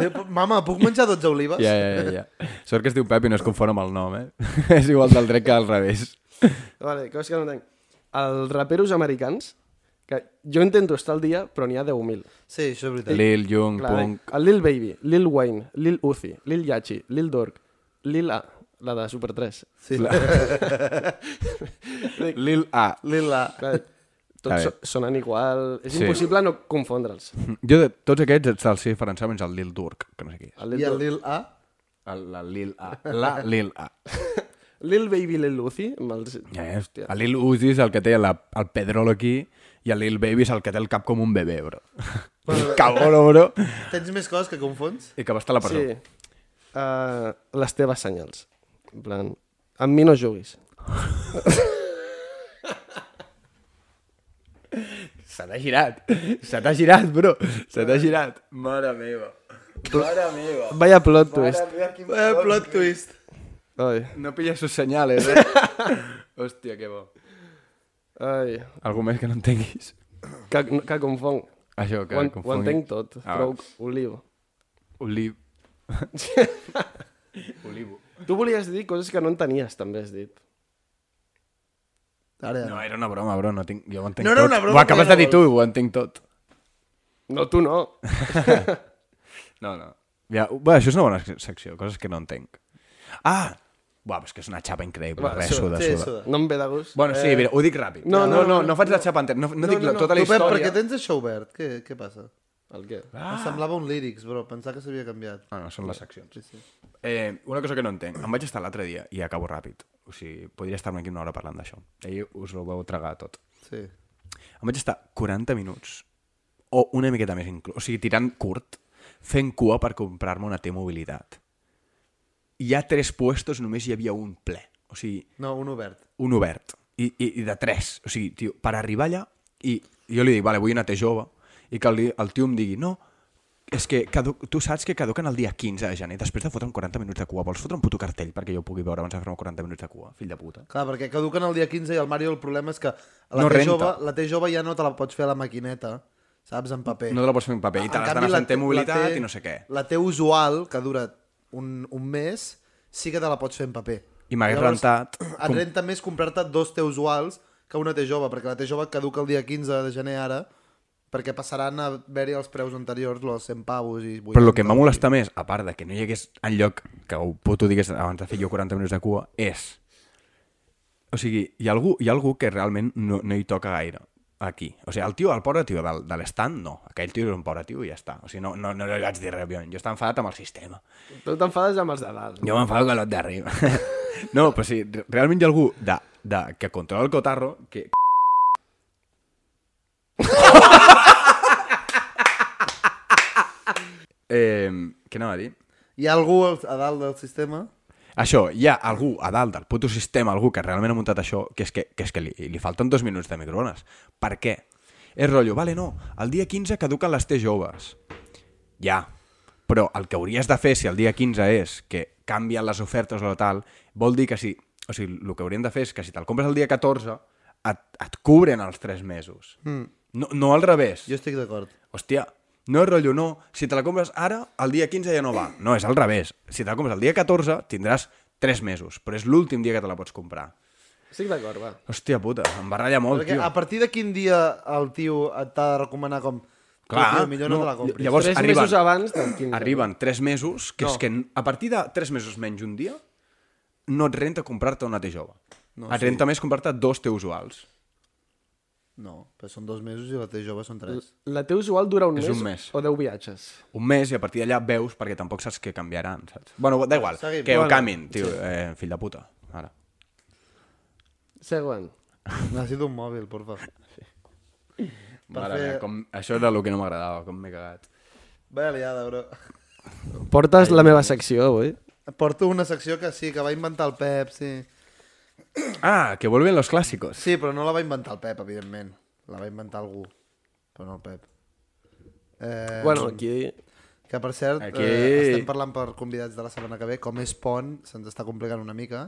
S1: Eh, Mama, puc menjar 12 olives?
S2: Ja, ja, ja, ja. Sort que es diu Pep i no es confon amb el nom, eh? és igual del dret que al revés.
S5: Vale, coses que no entenc. Els raperos americans, que jo intento estar al dia, però n'hi ha 10.000.
S1: Sí, això és veritat.
S2: Lil, Jung,
S5: Clar, eh?
S2: Punk...
S5: El Lil Baby, Lil Wayne, Lil Uzi, Lil Yachi, Lil Dork, Lil A, la de Super 3.
S1: Sí.
S2: Lil A.
S1: Lila.
S5: Clar,
S2: A
S5: tots so
S2: veure.
S5: sonen igual. És
S2: Sí.
S5: impossible no confondre'ls.
S2: Jo de tots aquests et se'ls diferenciar menys el Lil Durk, que no sé qui és.
S1: I
S5: El Lil,
S1: el
S5: Dork.
S1: Lil A?
S2: El, la Lil A. La Lil A.
S5: Lil Baby, Lil Uzi, amb els...
S2: Ja, eh? El Lil Uzi és el que té la, el Pedrolo aquí i el Lil Baby és el que té el cap com un bebè, bro. Cabrón, bro.
S1: Tens més coses que confons?
S2: I que va estar a la presó.
S5: Sí. Uh, les teves senyals. En plan, amb mi no juguis.
S2: Se t'ha girat. Se t'ha girat, bro. Se t'ha girat. Mare meva. Mare meva.
S5: Vaya plot twist.
S1: Eh, plot twist.
S5: Ai,
S2: No pilles sus senyales, eh? Hòstia, que bo.
S5: ai,
S2: Algú més que no entenguis?
S5: que, que confonc.
S2: Això, que
S5: Ho, en, ho
S2: confongui.
S5: entenc tot,
S2: Ah,
S5: però ho, ho lio.
S2: Oliv... Olivo.
S5: Tu volies dir coses que no entenies, també has dit.
S1: Ara,
S2: No, era una broma, bro, no tinc... jo ho entenc
S1: No era
S2: tot.
S1: una broma,
S2: Ho acabes
S1: però
S2: de dir tu, ho entenc tot.
S5: No, tu no.
S2: No, no. Ja, bé, això és una bona sec- secció, coses que no entenc. Ah! Buah, però és que és una xapa increïble.
S5: Va,
S2: Va, Bé,
S1: suda,
S2: suda,
S1: sí,
S2: suda.
S1: suda.
S5: No em ve de gust.
S2: Bueno, sí, mira, ho dic ràpid.
S5: No, no, no,
S2: no faig la xapa entera, no, no, dic la, tota la
S1: Tu, Pep,
S2: història.
S1: per què tens això obert? Què, què passa?
S5: El què?
S1: Ah. Em semblava un lírics, però pensava que s'havia canviat.
S2: Ah, no, són les seccions.
S1: Sí, sí.
S2: Eh, una cosa que no entenc. Em vaig estar l'altre dia, i acabo ràpid. O sigui, podria estar-me aquí una hora parlant d'això. Ahir us ho vau tragar tot.
S1: sí.
S2: Em vaig estar 40 minuts, o una miqueta més inclús, o sigui, tirant curt, fent cua per comprar-me una T-mobilitat. Hi ha tres puestos, només hi havia un ple. O sigui,
S1: No, un obert.
S2: un obert. I, i, i de tres. O sigui, tio, per arribar allà, i jo li dic, vale, vull una té jove, i que el, di- el tio em digui, no, és que cadu tu saps que caduquen el dia 15 de gener, després de fotre'm 40 minuts de cua, vols fotre un puto cartell perquè jo ho pugui veure abans de fer-me 40 minuts de cua, fill de puta.
S1: Clar, perquè caduquen el dia 15 i el Mario el problema és que la,
S2: No
S1: té,
S2: renta.
S1: jove, la té jove ja no te la pots fer a la maquineta, saps? En paper.
S2: No te la pots fer en paper, i te
S1: En
S2: l'has
S1: canvi,
S2: d'anar fent
S1: la-
S2: té mobilitat
S1: la té-
S2: i no sé què.
S1: La té usual, que dura un, un mes, sí que te la pots fer en paper.
S2: I m'hagués
S1: Llavors,
S2: rentat
S1: Et
S2: com-
S1: renta més comprar-te dos té usuals que una té jove, perquè la té jove caduca el dia 15 de gener ara, perquè passaran a haver-hi els preus anteriors, los 100 pavos i 80.
S2: Però el que em va molestar més, a part de que no hi hagués enlloc que ho puto digués abans de fer jo 40 minuts de cua, és... O sigui, hi ha algú, hi ha algú que realment no, no hi toca gaire aquí. O sigui, el tio, el pobre tio del, de l'estand, no. Aquell tio és un pobre tio i ja està. O sigui, no, no, no li vaig dir res, òbviament. Jo estava enfadat amb el sistema.
S5: Tu t'enfades amb els de dalt.
S2: Jo m'enfado amb l'ot d'arriba. no, però sí, re- realment hi ha algú de, de, que controla el cotarro que... eh, què anava a dir?
S1: Hi ha algú al- a dalt del sistema?
S2: Això, hi ha algú a dalt del puto sistema, algú que realment ha muntat això, que és que, que, és que li, li falten dos minuts de microones. Per què? És rotllo, vale, no, el dia 15 caduquen les T joves. Ja, però el que hauries de fer si el dia 15 és que canvien les ofertes o tal, vol dir que si... O sigui, el que haurien de fer és que si te'l compres el dia 14, et, et cobren els 3 mesos. Mm. No, no al revés.
S1: Jo estic d'acord.
S2: Hòstia, no és rotllo, no. Si te la compres ara, el dia 15 ja no va. No, és al revés. Si te la compres el dia 14, tindràs 3 mesos, però és l'últim dia que te la pots comprar.
S5: Estic d'acord, va.
S2: Hòstia puta, em va ratllar molt,
S1: Perquè
S2: Oh, tio.
S1: a partir de quin dia el tio et t'ha de recomanar com...
S2: Clar,
S1: tio, millor no,
S2: no,
S1: te la compris.
S2: llavors
S5: Tres
S2: arriben-
S5: mesos abans del 15.
S2: Arriben 3 mesos, que no. és que a partir de 3 mesos menys un dia, no et renta comprar-te una T jove. No, et renta sí. més comprar-te dos teus usuals.
S1: No, però són dos mesos i la té jove són tres.
S5: La teva usual dura un,
S2: És
S5: mes,
S2: un mes.
S5: o 10 viatges.
S2: Un mes i a partir d'allà veus perquè tampoc saps què canviaran, saps? Bueno, da igual,
S1: Seguim.
S2: que
S1: Bueno,
S2: ho canvin, tio, eh, fill de puta. Ara.
S5: Següent.
S1: Necessito un mòbil, porfa.
S2: Mare
S1: fer-
S2: meva, com... Això era el que no m'agradava, com m'he cagat.
S1: Vaya liada, bro.
S5: Portes la meva secció avui?
S2: Eh,
S1: Porto una secció que sí, que va inventar el Pep, sí.
S2: Ah, que vuelven los clásicos.
S1: Sí, però no la va inventar el Pep, evidentment. La va inventar algú, però no el Pep. Eh,
S5: Bueno, aquí...
S1: Que, per cert,
S2: Aquí.
S1: eh, estem parlant per convidats de la setmana que ve. Com és pont, se'ns està complicant una mica,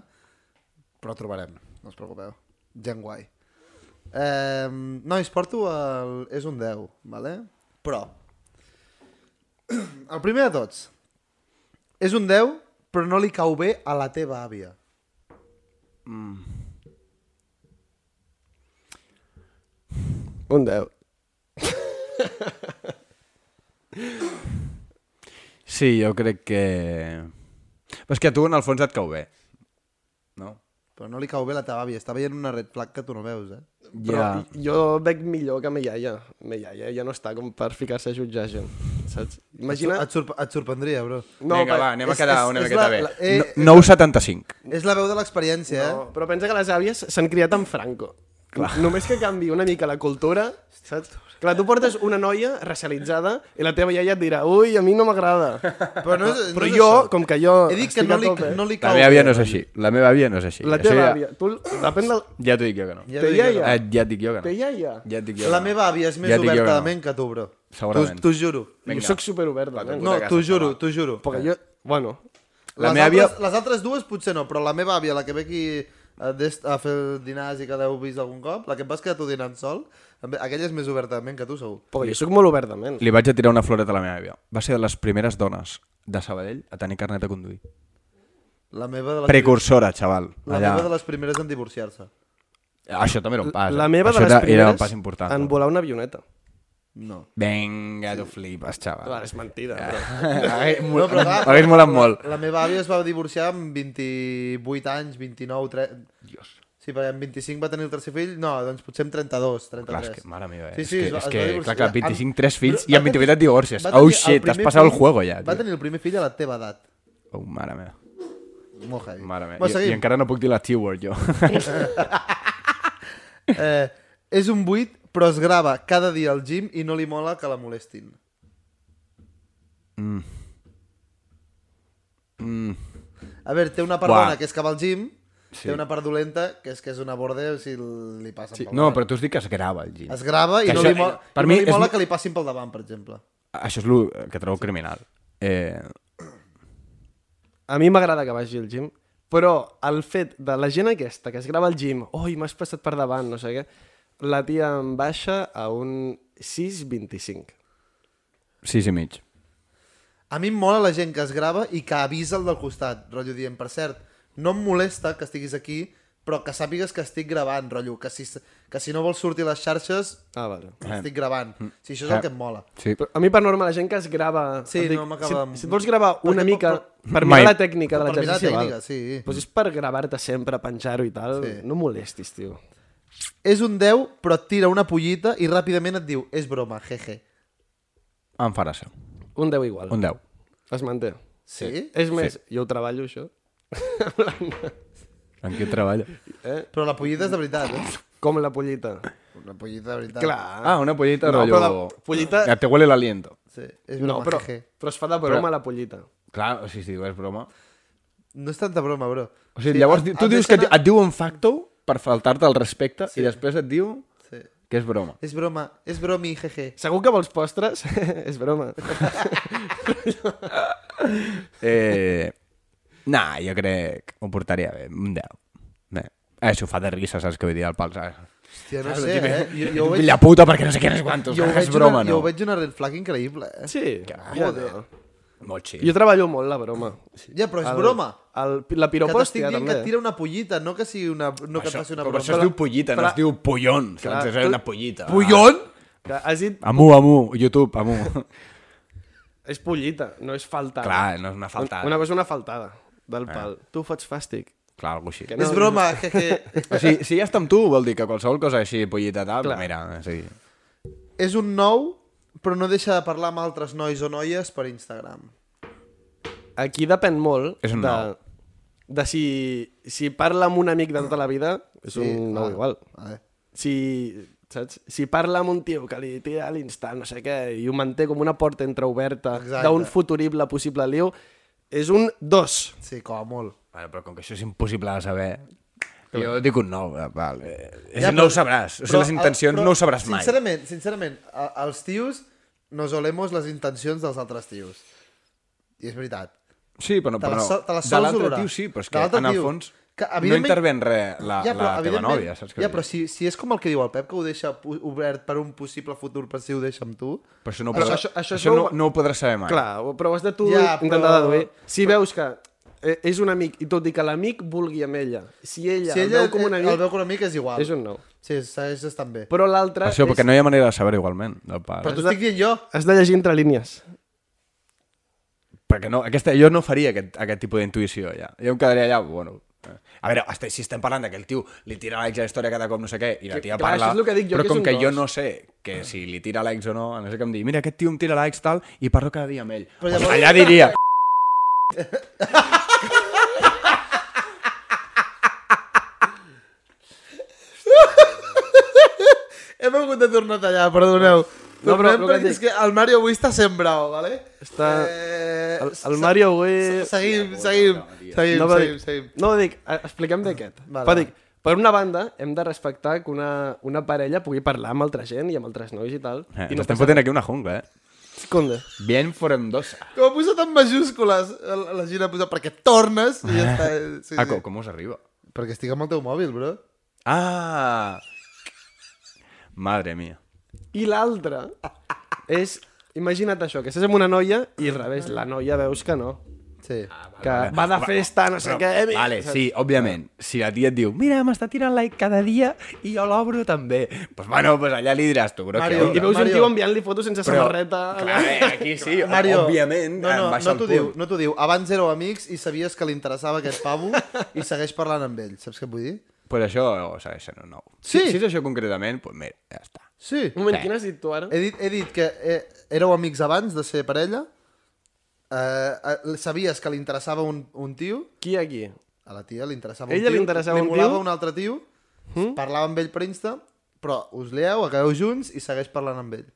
S1: però trobarem, no us preocupeu. Gent guai. Eh, nois, porto el... És un 10, vale? però... El primer de tots. És un 10, però no li cau bé a la teva àvia.
S5: Un 10.
S2: Sí, jo crec que... Però és que a tu en el fons et cau bé. No?
S1: Però no li cau bé a la teva àvia. Està veient una red flag que tu no veus, eh?
S2: Ja.
S5: Però jo veig millor que ma iaia. Ma iaia ja no està com per ficar-se a jutjar gent, saps? Imagina...
S1: Et, sorp et sorprendria, bro.
S2: No, Vinga,
S5: per-
S2: va, anem
S1: és-
S2: a quedar
S1: és-
S2: una
S1: és
S2: miqueta
S1: la-
S2: bé.
S1: la- eh,
S2: no, 9,75.
S1: És la veu de l'experiència, eh?
S5: No, però pensa que les àvies s'han criat amb Franco. Clar. Només que canvi una mica la cultura, saps? Clar, tu portes una noia racialitzada i la teva iaia et dirà ui, a mi no m'agrada.
S1: Però, no és, no
S5: Però
S1: és
S5: jo,
S1: això.
S5: com que jo
S1: He dit que
S5: estic
S1: no
S5: a
S1: li,
S5: tope,
S1: no li
S2: La
S1: cau
S2: meva
S1: bé.
S2: àvia no és així. La meva àvia no és així.
S5: La
S2: Això
S5: teva
S2: ja...
S5: àvia... Tu, depèn del...
S2: Ja t'ho dic jo que no.
S1: Ja
S5: Té
S1: t'ho dic jo,
S5: iaia.
S2: Eh, ja et dic jo que
S5: Té
S2: no.
S5: iaia.
S2: Ja et dic
S1: La
S2: jo que no.
S1: meva àvia és més
S2: Ja et dic jo
S1: oberta
S2: que
S1: de
S2: no.
S1: ment que tu, bro.
S2: Segurament.
S1: T'ho t'ho juro.
S5: Jo
S2: Vinga.
S5: sóc superoberta.
S2: Va, tu
S5: nen.
S2: puta
S1: No,
S2: casa,
S1: t'ho juro,
S2: xaval.
S1: t'ho juro.
S5: Perquè jo... Bueno,
S1: Les,
S2: meva àvia-
S1: altres, les altres dues potser no, però la meva àvia, la que ve aquí a, dest- a fer dinars i que l'heu vist algun cop, la que et vas quedar tu dinant sol, també- aquella és més obertament que tu, segur.
S5: Però jo sóc molt obertament.
S2: Li vaig a tirar una floreta a la meva àvia. Va ser de les primeres dones de Sabadell a tenir carnet de conduir.
S1: La meva de les,
S2: Precursora, xaval.
S1: la
S2: Allà.
S1: meva de les primeres en divorciar-se.
S2: Això també era un pas. eh?
S5: La meva
S2: Això
S5: de les
S2: era,
S5: primeres
S2: era un pas important.
S5: en volar una avioneta.
S1: No.
S2: Vinga, tu flipes, xaval.
S5: Clar, és mentida.
S2: Ah.
S5: Però...
S2: Hagués
S1: No, però clar,
S2: hagués molat molt.
S1: La meva àvia es va divorciar amb 28 anys, 29, 3... Dios. Sí, perquè amb 25 va tenir el tercer fill, no, doncs potser amb 32, 33.
S2: Clar, és que, mare meva, eh?
S1: Sí, sí,
S2: és
S1: es va- es
S2: que, és que
S1: va divorciar.
S2: clar, clar, 25, 3 fills
S1: Però
S2: i
S1: va
S2: amb 28 et
S1: tenir-
S2: divorcies.
S1: va
S2: Oh,
S1: tenir el
S2: shit, t'has
S1: primer
S2: passat el
S1: fill-
S2: juego ja.
S1: Va
S2: tio.
S1: tenir el primer fill a la teva edat.
S2: Oh, mare meva.
S1: Molt heavy.
S2: Mare meva.
S1: Bueno,
S2: I, I
S1: seguim.
S2: encara no puc dir la T-word, jo.
S1: Eh, és un buit, però es grava cada dia al gym i no li mola que la molestin.
S2: Mm.
S1: A veure, té una part bona,
S2: Buah.
S1: que és que va al gym,
S2: Sí.
S1: sí. té una part dolenta, que és que és una borde, o sigui, li passa sí. pel
S2: No,
S1: davant.
S2: però tu has dit que es grava el gin.
S1: Es grava i
S2: Que
S1: no,
S2: això-
S1: li, mola,
S2: per
S1: i
S2: mi
S1: no li
S2: és
S1: mola
S2: mo-
S1: que li passin pel davant, per exemple.
S2: Això és el que trobo criminal. Eh,
S5: A mi m'agrada que vagi al gym, però el fet de la gent aquesta que es grava al gym, oi, m'has passat per davant, no sé què, la tia em baixa a un 6,25.
S2: sis i mig.
S1: A mi em mola la gent que es grava i que avisa el del costat, rotllo dient, per cert, no em molesta que estiguis aquí, però que sàpigues que estic gravant, rotllo, que si, que si no vols sortir a les xarxes,
S5: Ah, vale.
S1: estic gravant. Si això és el que em mola.
S2: Sí.
S5: Però a mi per norma la gent que es grava...
S1: Sí,
S5: em dic,
S1: no m'acaba de-
S5: Si, si et vols gravar
S1: Perquè
S5: una
S1: pot-
S5: mica
S1: pot-
S5: per, per
S2: Mai.
S5: mirar la tècnica de
S1: Per mirar la
S5: l'exercici,
S1: tècnica,
S5: val.
S1: sí.
S5: Doncs és per gravar-te sempre, penjar-ho i tal.
S1: Sí.
S5: No molestis, tio.
S1: És un 10, però et tira una pollita i ràpidament et diu, és broma, jeje.
S2: Em farà ser.
S5: Un 10 igual.
S2: Un 10.
S5: Es manté.
S1: Sí?
S5: És més, jo ho treballo, això.
S2: En què treballa?
S1: Però la pollita és de veritat, eh?
S5: Com la pollita.
S1: Una pollita de veritat.
S5: Clar.
S2: Ah, una pollita
S5: No,
S2: rotllo...
S5: però la pollita-
S2: Ja te huele l'aliento.
S1: Sí, és broma,
S5: No, però,
S1: jeje.
S5: però es fa de broma la pollita.
S2: Clar, o sigui, si diu, és broma.
S1: No és tanta broma, bro.
S2: O sigui, llavors,
S1: et-
S2: tu
S1: et
S2: dius que et,
S1: deixen
S2: et diu en facto per faltar-te el respecte sí. i després et diu
S1: a- Sí.
S2: que és broma.
S1: És broma, és bromi, jeje.
S5: Segur que vols postres? és broma.
S2: Eh, nah, jo crec... Ho portaria bé, un 10. Bé. Eh, s'ho fa de risa, saps què vull dir, el pal. saps?
S1: Hòstia, no sé, eh? Jo, jo ho veig...
S2: Filla puta, perquè no sé què és quantos. eh?
S1: Jo ho, veig
S2: és broma,
S1: una,
S2: no?
S1: jo ho veig una red flag increïble, eh?
S5: Sí. Ja, no.
S2: Molt xil.
S5: Jo treballo molt la broma.
S1: Ja, eh. però és broma.
S5: El,
S1: Que
S5: la
S1: t'estic
S5: piropòstia,
S1: dient
S5: també.
S1: que et tira una pollita, no que sigui una... No que et faci una
S2: però
S1: broma.
S2: això es diu pollita, no es diu pollon. Clar, és una pollita.
S1: Pullon?
S5: Que has dit...
S2: Amu, amu, YouTube, amu.
S5: És pollita, no és faltada.
S2: Clar, no és una Ah. falta.
S5: Una cosa, una faltada del pal. Tu fots fàstic.
S2: Clar, alguna cosa així.
S5: Que
S1: És broma, jeje.
S2: O sigui, si ja està amb tu, vol dir que qualsevol cosa així, pollita, tal,
S5: Clar.
S2: mira, sí.
S1: És un nou, però no deixa de parlar amb altres nois o noies per Instagram.
S5: Aquí depèn molt
S2: És un
S5: de,
S2: nou.
S5: de si, si parla amb un amic de tota la vida, és
S1: Sí, eh.
S5: un nou
S1: clar.
S5: igual.
S1: Vale.
S5: Si, saps? si parla amb un tio que li tira a l'instant, no sé què, i ho manté com una porta entreoberta
S1: Exacte.
S5: d'un futurible possible liu, és un dos.
S1: Sí, com a molt.
S2: Bueno, però com que això és impossible de saber, jo dic un nou, eh, val. Ja,
S1: Ja, però-
S2: no ho sabràs. O sigui,
S1: però-
S2: les intencions
S1: però,
S2: no ho sabràs mai.
S1: Sincerament, sincerament, a- els tios nos olemos les intencions dels altres tios. I és veritat.
S2: Sí, però,
S1: Te la
S2: però no.
S1: so- te la
S2: de
S1: sols
S2: l'altre
S1: olorar.
S2: tio sí, però
S1: De
S2: és que
S1: l'altre
S2: en el
S1: tio,
S2: fons
S1: que
S2: no
S1: evidentment-
S2: intervé en res la, ja, la teva
S1: evidentment-
S2: nòvia, saps què
S1: Ja,
S2: vull
S1: però si,
S2: dir?
S1: si és com el que diu el Pep, que ho deixa pu- obert per un possible futur per si ho deixa amb tu...
S2: Però això no ho,
S5: Però
S2: podrà,
S5: això-
S2: això,
S5: això
S2: això,
S5: es
S2: no,
S5: veu-
S2: no ho podràs saber mai.
S5: Clar, ho- però ho has de tu
S1: Ja,
S5: ja,
S1: però-
S5: intentar però... deduir. Si veus que eh, és un amic, i tot i que l'amic vulgui amb ella, si ella,
S1: Si ella
S5: el veu com un
S1: eh,
S5: amic,
S1: el veu com un amic és igual.
S5: és un nou.
S1: Sí, segueix estant bé. Però,
S5: Però l'altre...
S2: Això, perquè
S5: és...
S2: no hi ha manera de saber igualment, del pare.
S1: però t'ho estic dient jo.
S5: Has de llegir entre línies.
S2: Perquè no, aquesta, jo no faria aquest, aquest tipus d'intuïció, ja. Jo em quedaria allà, bueno... eh. A veure, hasta, si estem parlant de que el tio li tira a l'ex a la història cada cop no sé què, i la
S5: Que-
S2: tia
S5: clar,
S2: parla...
S5: això és el que dic jo,
S2: però
S5: que és
S2: com
S5: un Ah.
S2: que jo
S5: dos.
S2: no sé que si li tira a l'ex o no, a no sé què em digui, mira, aquest tio em tira a l'ex tal, i parlo cada dia amb ell.
S1: Però
S2: Pues
S1: llavors-
S2: allà diria...
S1: Hem hagut de tornar a tallar, perdoneu.
S5: No,
S1: Tornem
S5: però el que
S1: perquè
S5: dic-
S1: és que el Mario avui està sembrau, ¿vale?
S5: Està-
S1: Eh,
S5: El, el Mario avui...
S1: se- Seguim, seguim, seguim,
S5: No, però
S1: seguim,
S5: dic-
S1: seguim.
S5: No, dic, eh, expliquem d'aquest.
S1: Vale,
S5: Vale,
S1: vale.
S5: vale. dic, per una banda, hem de respectar que una, una parella pugui parlar amb altra gent i amb altres nois i tal.
S2: Eh,
S5: I
S2: no
S5: no
S2: estem
S5: passa...
S2: fotent aquí una jungla, eh?
S5: Conde.
S2: Bien forendosa.
S1: Com ha posat en majúscules, la- la Gina ha posat perquè tornes i ja està. eh, Sí,
S2: Ah, com,
S1: sí.
S2: com us arriba?
S1: Perquè estic amb el teu mòbil, bro.
S2: Ah! Madre mía.
S5: I l'altra és... Imagina't això, que estàs amb una noia i al revés, la noia veus que no.
S1: Sí.
S2: Ah,
S5: Que va de festa, no sé què... eh, mira,
S2: Vale,
S5: saps?
S2: sí, òbviament. Si la tia et diu, mira, m'està tirant like cada dia i jo l'obro també. Doncs pues, bueno, pues allà li diràs tu, però
S1: Mario,
S5: I
S2: que...
S5: veus un
S1: Mario.
S5: tio enviant-li fotos sense
S2: Però,
S5: samarreta...
S2: clar, eh, aquí sí,
S1: Mario,
S2: òbviament,
S1: no, no,
S2: em
S1: no
S2: baixa el
S1: t'ho
S2: punt.
S1: diu, no t'ho diu. Abans éreu amics i sabies que li interessava aquest pavo i segueix parlant amb ell. Saps què et vull dir?
S2: Pues això o segueix sent un nou.
S1: Sí.
S2: Si, si és això concretament, doncs pues mira, ja està.
S1: Sí.
S5: Un
S2: Eh.
S5: moment, quina has dit tu ara?
S1: He dit, he dit que eh, éreu amics abans de ser parella, eh, eh, sabies que li interessava un, un tio,
S5: Qui aquí?
S1: a la tia li interessava
S5: Ella
S1: un
S5: li
S1: tio,
S5: interessava
S1: li
S5: un
S1: molava
S5: tio? Hm?
S1: un altre tio, mm? parlava amb ell per Insta, però us lieu, acabeu junts i segueix parlant amb ell.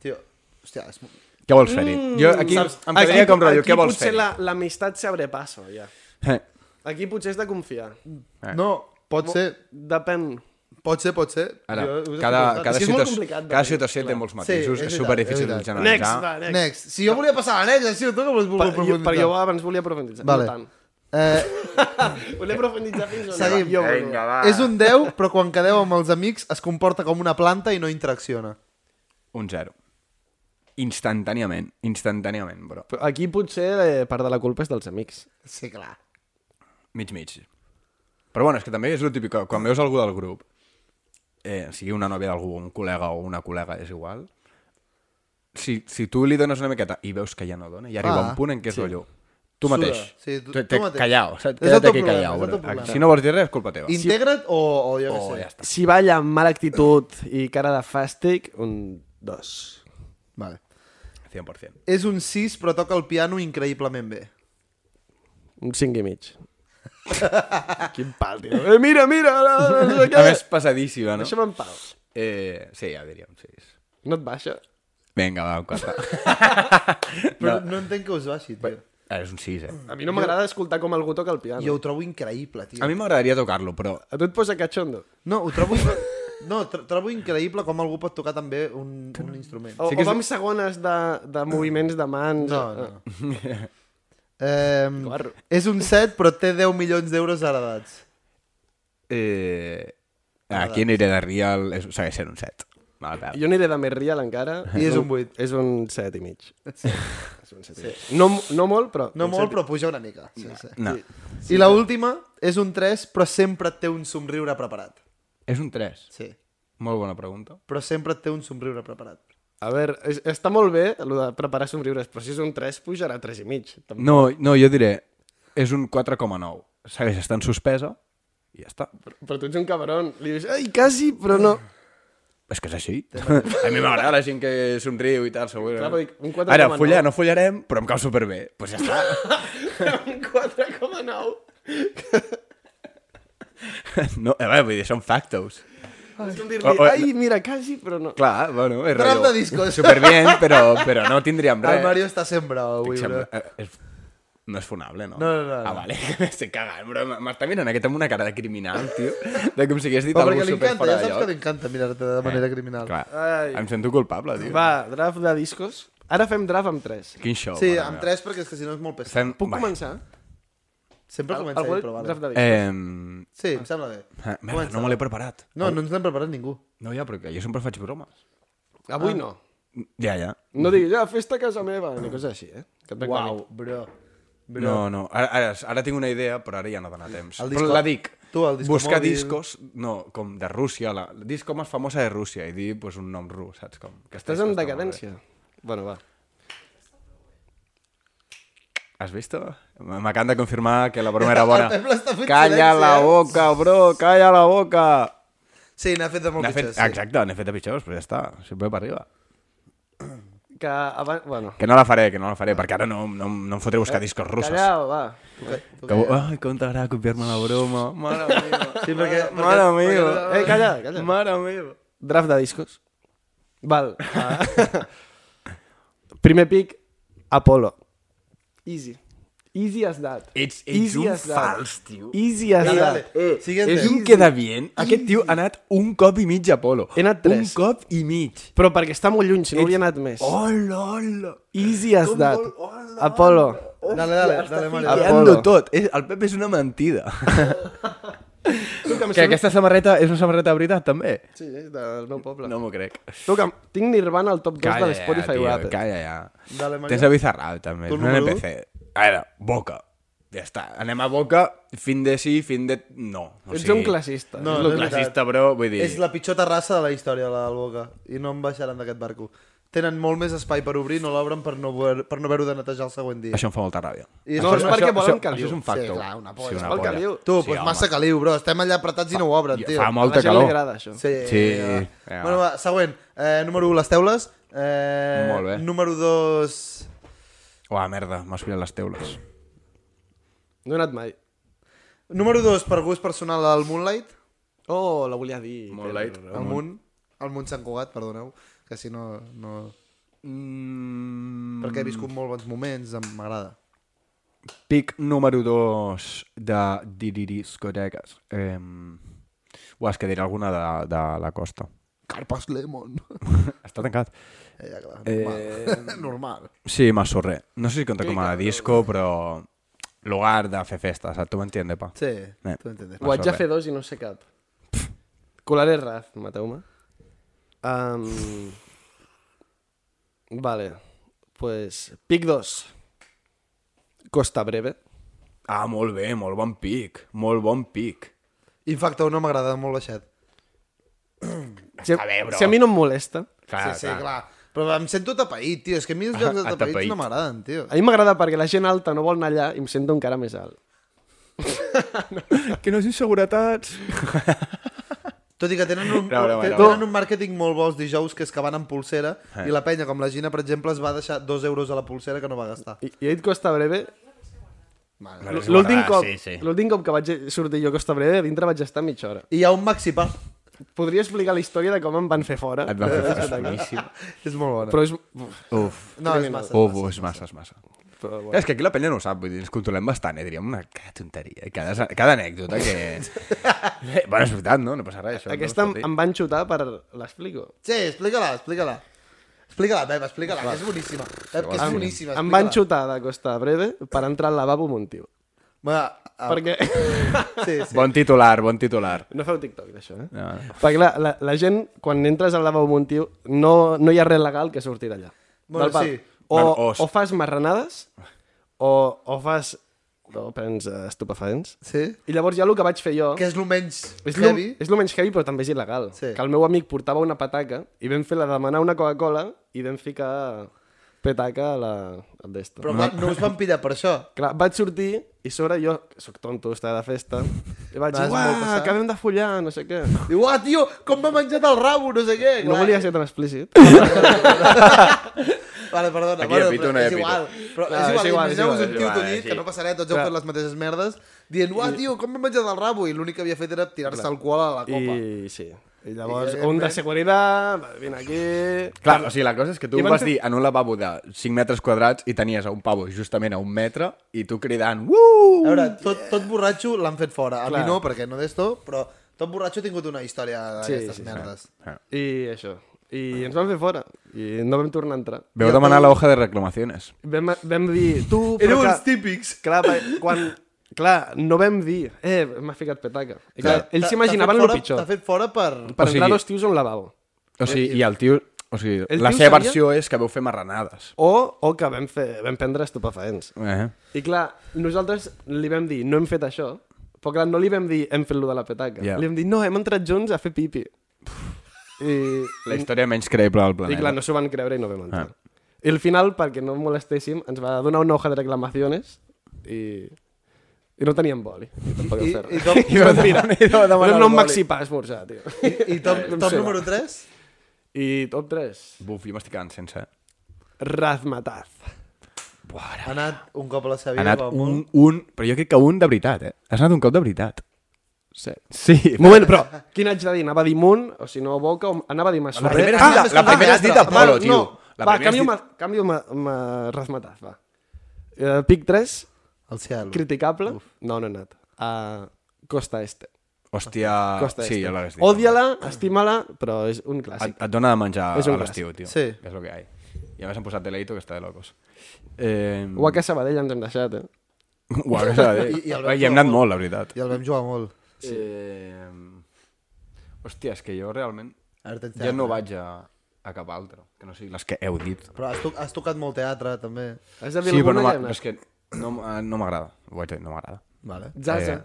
S1: Tio, hòstia, és... mo-
S2: Què vols fer-hi? jo aquí
S5: Mm. Saps?
S2: em quedaria
S5: Aquí-
S2: com rotllo,
S5: aquí
S2: què vols
S5: potser
S2: fer-hi?
S5: la- l'amistat s'abre passo, ja.
S2: Eh,
S5: Aquí potser és de confiar.
S2: Eh.
S1: No, pot ser,
S5: Depèn.
S1: pot ser, pot ser.
S2: Ara,
S1: Jo us he
S2: cada,
S1: fet
S2: cada,
S5: És que és molt
S2: situació,
S5: complicat de
S2: cada
S5: fer,
S2: situació
S5: clar.
S2: té molts
S1: Sí, és
S2: matisos, és,
S1: veritat,
S2: superdifícil
S1: és
S2: de
S1: veritat.
S5: Next,
S2: generalitzar.
S5: va, next.
S1: Next. Si jo volia passar a la next, així tu que vols
S5: Pa,
S1: voler
S5: jo, perquè jo
S1: profunditzar.
S5: abans volia profunditzar.
S1: Vale.
S5: No tant.
S1: Eh,
S5: Volia profunditzar fins on...
S1: Seguim.
S5: Jo,
S1: és un 10, però quan quedeu amb els amics es comporta com una planta i no interacciona.
S2: Un zero. Instantàniament, instantàniament, bro.
S5: Però Aquí potser eh, part de la culpa és dels amics.
S1: Sí, clar.
S2: Mig, mig. Però bueno, és que també és el típic, que quan veus algú del grup, eh, sigui una nòvia d'algú, un col·lega o una col·lega, és igual, si, si tu li dones una miqueta i veus que ja no dona, ja arriba
S1: Ah,
S2: un punt en què és sí. rotllo. Tu
S1: Suda.
S2: mateix.
S1: Sí, tu-
S2: Te-
S1: tu
S2: te-
S1: mateix.
S2: Callau,
S1: És el
S2: saps? Queda't
S1: teu
S2: aquí
S1: problema,
S2: callau,
S1: és el
S2: bro.
S1: teu problema.
S2: Si no vols dir res, és culpa teva.
S1: Integra't o, o jo què
S2: Oh,
S1: sé.
S2: ja està.
S5: Si balla amb mala actitud i cara de fàstic, un dos.
S1: Vale.
S2: 100%.
S1: És un 6, però toca el piano increïblement bé.
S5: Un cinc i mig. Quin pal, tio. Eh, mira, mira! No, no sé
S2: A
S5: què.
S2: més, passadíssima, no?
S5: Deixa'm en pau.
S2: Eh, sí, ja diria un 6.
S5: No et baixa?
S2: Vinga, va, un 4.
S1: Però no, no entenc que us baixi, tio.
S2: Ah, és un 6, eh?
S5: A mi no m'agrada escoltar com algú toca el piano.
S1: Jo ho trobo increïble, tio.
S2: A mi m'agradaria tocar-lo, però
S5: A tu et posa cachondo.
S1: No, ho trobo... No, tro- trobo increïble com algú pot tocar també un, un instrument.
S5: O,
S2: Sí
S5: sí
S2: que
S5: o
S2: és-
S5: vam segones de, de moviments de mans.
S1: No, no. Eh,
S5: Guarro.
S1: és un 7, però té 10 milions d'euros heredats.
S2: Eh, aquí aniré de Rial, és, segueix sent un 7. Mala pèl.
S5: Jo aniré de més rial encara.
S1: I és un vuit.
S5: És un set i mig. És un set i mig. No, no molt, però...
S1: No
S5: un
S1: molt,
S5: set i-
S1: però puja una mica. Sí, sí.
S2: No.
S1: I la última és un 3, però sempre et té un somriure preparat.
S2: És un 3.
S1: Sí.
S2: Molt bona pregunta.
S1: Però sempre et té un somriure preparat.
S5: A veure, és, està molt bé el de preparar somriures, però si és un 3, pujarà a 3 i mig. Tampoc.
S2: No, no jo diré, és un 4,9. Segueix estant suspesa i ja està.
S5: Però, però tu ets un cabron. Li dius, ai, quasi, però no.
S2: És que és així. A mi m'agrada la gent que somriu i tal, segur.
S5: Clar, però dic, un 4,9.
S2: Ara, follar, no follarem, però em cau superbé. Doncs pues ja està.
S5: Un 4,9.
S2: No, a veure, vull dir, són factos.
S5: És com dir-li,
S2: O- o-
S5: ai, mira, quasi, però no.
S2: Clar, bueno, és
S1: Trap
S2: rotllo,
S1: de discos.
S2: Superbien, però, però no tindríem res.
S1: El Mario està sempre avui, bro.
S2: Sembla- eh, és- No és fonable, no?
S1: No, no, no,
S2: Ah,
S1: no.
S2: vale, estic cagant, bro. M'està mirant aquest amb una cara de criminal, tio. De com si hagués dit
S1: Però
S2: algú
S1: perquè li
S2: super
S1: encanta,
S2: fora
S1: ja saps
S2: de
S1: que li
S2: lloc. Eh,
S1: encanta mirar-te de manera criminal.
S2: Clar,
S5: Ai.
S2: em sento culpable, tio.
S5: Va, draft de discos. Ara fem draft amb 3.
S2: Quin show.
S1: Sí,
S2: mare
S1: amb
S2: meva.
S1: tres perquè és que si no és molt pesat.
S2: Fem...
S5: Puc
S2: va.
S5: començar?
S1: Sempre comença
S5: Algú
S1: ell, però
S5: draft
S1: vale.
S5: de discos.
S2: Eh,
S1: Sí, em sembla bé.
S2: eh, merda, no me l'he preparat.
S1: No, no ens n'hem preparat ningú.
S2: No, ja, però que jo sempre faig bromes.
S5: Avui no.
S2: Ja, ja.
S5: No diguis, ja, festa a casa meva, ni coses així, eh? Que et venga a mi.
S1: Uau, bro. bro.
S2: No, no, ara, ara, ara tinc una idea, però ara ja no dona temps.
S1: El
S2: Però
S1: disco-
S2: la dic.
S1: Tu, el disco
S2: Buscar
S1: mòbil.
S2: discos, no, com de Rússia, la, la disco més famosa de Rússia, i dir pues, un nom rus, saps com? Que
S5: Estàs en decadència. Bueno, va.
S2: ¿Has visto? Me me acaban de confirmar que la broma era buena.
S1: El Pep l'està fent
S2: ¡Calla
S1: silenci,
S2: la
S1: eh?
S2: boca, bro! ¡Calla la boca!
S1: Sí, n'ha fet de molt
S2: N'ha fet,
S1: pitjor, sí.
S2: exacte, n'he fet de pitjors, però ja està. Sempre per arriba.
S5: Que abans... Bueno.
S2: Que no la faré, que no la faré, perquè ara no, no, no em fotré a buscar discos russos.
S5: Eh, Callao, va.
S2: Que, ai, com t'agrada copiar-me la broma. Mare meva.
S1: Sí, perquè...
S2: Mare meva.
S5: Eh, calla, calla.
S2: Mare meva.
S5: Draft de discos. Val. Ah. Primer pic, Apolo. Easy. Easy as that.
S2: Ets- ets un fals, tio.
S5: Easy as
S1: Dale,
S5: that.
S1: dale. Eh, Siguiente.
S2: És un queda bien. Aquest tio ha anat un cop i mig a Polo.
S5: He anat
S2: Un
S5: tres.
S2: cop i mig.
S5: Però perquè està molt lluny, si no hauria anat més.
S2: Hola, hola.
S5: Easy as that.
S2: Oh,
S5: Apolo.
S1: Dale, dale, dale, Mario.
S2: Creant-ho tot. És, el Pep és una mentida. que aquesta samarreta és una samarreta de veritat, també?
S5: Sí, és del meu poble.
S2: No m'ho crec.
S5: Tu, que tinc Nirvana al top 2 de l'Spotify
S2: tio,
S5: Wrapped.
S2: calla ja.
S1: Dale, Mario.
S2: Tens a Bizarrap, també.
S1: Tu
S2: És un
S1: número u?
S2: NPC. A veure, Boca. Ja està. Anem a Boca, fin de sí, fin de... No. O
S5: Ets
S2: sigui,
S5: un classista.
S1: No, no és
S5: És lo que-
S1: veritat.
S2: Classista, bro, vull dir...
S1: És la pitjor terrassa de la història, la del Boca. I no en baixaran d'aquest barco. Tenen molt més espai per obrir, no l'obren per no, voler, per no haver-ho de netejar el següent dia.
S2: Això em fa molta ràbia.
S1: I
S5: No, és perquè volen
S2: això,
S5: caliu.
S2: Això és un factor.
S1: Sí, clar, una polla.
S2: Sí, una
S5: Vol
S2: polla.
S5: caliu.
S1: Tu, doncs pues
S2: home.
S1: massa caliu, bro. Estem allà apretats i no ho obren, tio.
S2: Fa
S5: A
S2: molta
S5: la gent
S2: calor.
S5: li agrada això.
S1: Sí.
S2: Sí,
S1: ja.
S2: ja.
S1: Bueno, va, següent. Eh, número 1, les teules. Eh,
S2: Molt bé.
S1: Número 2...
S2: Uah, merda, m'has pillat les teules.
S5: No he anat mai.
S1: Número 2, per gust personal, el Moonlight.
S5: Oh, la volia dir.
S2: Molt light.
S1: El Moon. El Moon Sant Cugat, perdoneu. Que si no... no...
S2: Mm,
S1: Perquè he viscut molt bons moments, em- m'agrada.
S2: pic número 2 de Diriris Coregas. Eh, uah, és que diré alguna de, de la costa.
S1: Carpas Lemon.
S2: Està tancat.
S1: Eh, ja, clar,
S2: Eh,
S1: normal. normal.
S2: Sí, Massorré. No sé si compta com a disco, però... Lugar de fer festa, saps? Tu m'entiendes, pa?
S1: Sí,
S2: Eh.
S1: tu entiendes.
S5: Ho haig de
S2: res.
S5: fer dos i no sé cap. Colaré raz, mateu-me. Um... Vale. Pues, pic 2. Costa Breve.
S2: Ah, molt bé, molt bon pic. Molt bon pic.
S1: Infacto no m'agrada molt baixet.
S5: Si,
S2: bé, bro.
S5: si a mi no em molesta.
S1: Clar, sí, sí, clar. Però em sento tapaït, tio. És que a mi els llocs de tapaïts
S2: tapaït.
S1: no m'agraden, tio.
S5: A mi m'agrada perquè la gent alta no vol anar allà i em sento encara més alt.
S2: Que no és inseguretats.
S1: Tot i que tenen un,
S2: No, no, no,
S1: tenen
S2: no.
S1: un màrqueting molt bo els dijous, que és que van amb pulsera, i la penya, com la Gina, per exemple, es va deixar dos euros a la pulsera que no va gastar.
S5: I, i he dit Costa Breve.
S2: Vale, és
S5: L'últim
S2: guardar,
S5: cop,
S2: sí, sí.
S5: l'últim cop que vaig sortir jo a Costa Breve, a dintre vaig estar mitja hora.
S1: I hi ha un maxi pub.
S5: Podria explicar la història de com em van fer fora.
S2: Et va fer festa, boníssim.
S1: És molt bona.
S5: Però és...
S2: Uf.
S1: No, és massa.
S2: Uf, uf, és massa, és massa.
S5: Però, bueno.
S2: És que aquí la penya no ho sap, vull dir, ens controlem bastant, eh? Diríem una cada tonteria, cada, cada anècdota que... Eh, bueno, és veritat, no? No passa res, això.
S5: Aquesta
S2: no
S5: em, em van xutar per... L'explico.
S1: Sí, explica-la, explica-la. Explica-la, Pep, explica-la, que és boníssima. Pep, que és boníssima,
S5: Em van
S1: explica-la.
S5: xutar de Costa Breve per entrar al lavabo amb un tio.
S1: Va, a-
S5: Perquè...
S1: Sí, sí.
S2: Bon titular, bon titular.
S5: No feu TikTok d'això, eh?
S2: No.
S5: Perquè la, la, la gent, quan entres al lavabo amb un tio, no, no hi ha res legal que surti d'allà.
S1: Bueno,
S5: Del pal.
S1: sí.
S5: O,
S2: Bueno, o-
S5: o fas marranades, o, o fas... O prens eh, estupefacents.
S1: Sí?
S5: I llavors ja el que vaig fer jo...
S1: Que és el menys
S5: És lo,
S1: heavy.
S5: és lo menys heavy, però també és il·legal.
S1: Sí.
S5: Que el meu amic portava una pataca i vam fer la demanar una Coca-Cola i vam ficar petaca a la... al d'esto.
S1: Però va, no us van pillar per això.
S5: Clar, vaig sortir i sobre jo, que sóc tonto, estava de festa, i vaig dir,
S1: Vas molt
S5: uah,
S1: passat."
S5: acabem de follar, no sé què.
S1: Diu, ah, tio, com m'ha menjat el rabo, no sé què.
S5: No
S1: Clar.
S5: volia ser tan explícit.
S1: Vale, perdona.
S2: Aquí
S1: bueno,
S2: hi ha pito,
S1: però
S2: no hi ha
S1: és
S2: pito.
S1: igual. Però és igual,
S5: No, és igual, és
S1: imagineu-vos
S5: igual,
S1: un
S2: és
S1: tio
S2: igual,
S1: tullit,
S2: sí.
S1: que no passa res, tots heu
S5: Clar.
S1: fet les mateixes merdes, dient, uah, tio, com m'ha menjat el rabo? I l'únic que havia fet era tirar-se alcohol a la copa.
S5: I sí. I llavors, eh,
S1: I,
S5: un de seguretat, va, vine aquí...
S2: Clar, o sigui, la cosa és que tu
S5: I van
S2: vas
S5: fer-
S2: dir en un lavabo de 5 metres quadrats i tenies a un pavo justament a un metre i tu cridant, uuuh!
S1: A veure, tot, tot borratxo l'han fet fora. A mi
S5: Clar.
S1: no, perquè no d'esto, però tot borratxo ha tingut una història d'aquestes
S5: sí, sí.
S1: merdes.
S2: Ah.
S5: I això. I ens van fer fora. I no vam tornar a entrar.
S2: Veu demanar la hoja de reclamaciones.
S5: Vam, vam dir, tu...
S1: Éreu
S5: però
S1: uns
S5: clar,
S1: típics.
S5: clar, perquè quan... Clar, no vam dir, eh, m'ha ficat petaca. I clar,
S1: Clar,
S5: ells
S1: t'ha- t'ha
S5: s'imaginaven el
S1: fet fora-
S5: pitjor.
S1: T'ha fet fora per...
S5: Per
S2: O sigui-
S5: entrar dos tios a un lavabo.
S2: O sigui, Eh, i el tio... O sigui,
S5: El
S2: la
S5: tio
S2: seva
S5: sabia-
S2: versió és que veu fer marranades.
S5: O, o que vam, fer, vam prendre estupefaents.
S2: Eh?
S5: I clar, nosaltres li vam dir, no hem fet això, però clar, no li vam dir, hem fet lo de la petaca.
S2: Ja.
S5: Yeah. Li vam dir, no, hem entrat junts a fer pipi. I,
S2: La història menys creïble del
S5: I
S2: planeta.
S5: clar, no s'ho van creure i no vam entrar.
S2: Ah.
S5: I al final, perquè no molestéssim, ens va donar una hoja de reclamaciones i, i no teníem boli. I tampoc
S1: I,
S5: vam fer
S1: i,
S5: res.
S1: top,
S2: I va demanar, i va
S5: Vam
S2: demanar
S5: anar
S2: el
S5: a un
S2: boli.
S5: maxi pa a esmorzar, tio.
S1: i top,
S5: Em
S1: top
S5: sé,
S1: número 3?
S5: I top 3,
S2: Buf, jo m'estic quedant sense.
S5: Razmataz.
S1: Ha anat un cop a la seva
S2: Ha
S1: vida.
S2: anat
S1: com a
S2: un,
S1: molt.
S2: un... Però jo crec que un de veritat, eh? Has anat un cop de veritat.
S5: Sí.
S2: Sí.
S5: Moment, però, quin haig de dir? Anava a dir Munt, o si no Boca, o anava a dir
S2: La
S5: Masferrer.
S2: primera,
S1: Ah,
S2: ah, la,
S1: és
S2: la
S1: com
S2: primera
S1: un
S2: has dit
S1: altre.
S2: Apolo,
S5: Bueno,
S2: tio.
S5: No,
S2: La primera
S5: va,
S2: has
S5: canvio,
S2: dit-
S5: ma, canvio ma, ma, Razmataz, va. Eh, pic 3,
S1: Al Seattle.
S5: criticable, no, no he anat. A Costa Este.
S2: Hòstia...
S5: Costa
S2: Ah, sí,
S5: Este.
S2: ja l'hagués dit. Ah,
S5: Odia-la, estima-la, però és un
S2: Et,
S5: clàssic.
S2: et dona de menjar
S5: És un
S2: a l'estiu, tio.
S1: Sí.
S2: És el que hi ha. I a més han posat Deleito, que està de locos. Eh...
S5: O a Casa Sabadell ens hem deixat, eh?
S2: Uac, és a dir.
S1: I- i el
S2: Uac, hi hem anat molt, la veritat.
S1: I el vam jugar molt.
S2: Sí. Eh... Hòstia, és que jo realment...
S1: Ara tens
S2: Ja no
S1: teatre.
S2: vaig a, a cap altre, que no sigui les que heu dit.
S1: Però has, to has tocat molt teatre, també.
S5: Has de dir
S2: Sí, però
S5: alguna
S2: no, m'ha-
S5: que hem anat?
S2: és que no, m- eh, no m'agrada. Ho vaig dir, no m'agrada.
S1: Vale.
S5: Zaza.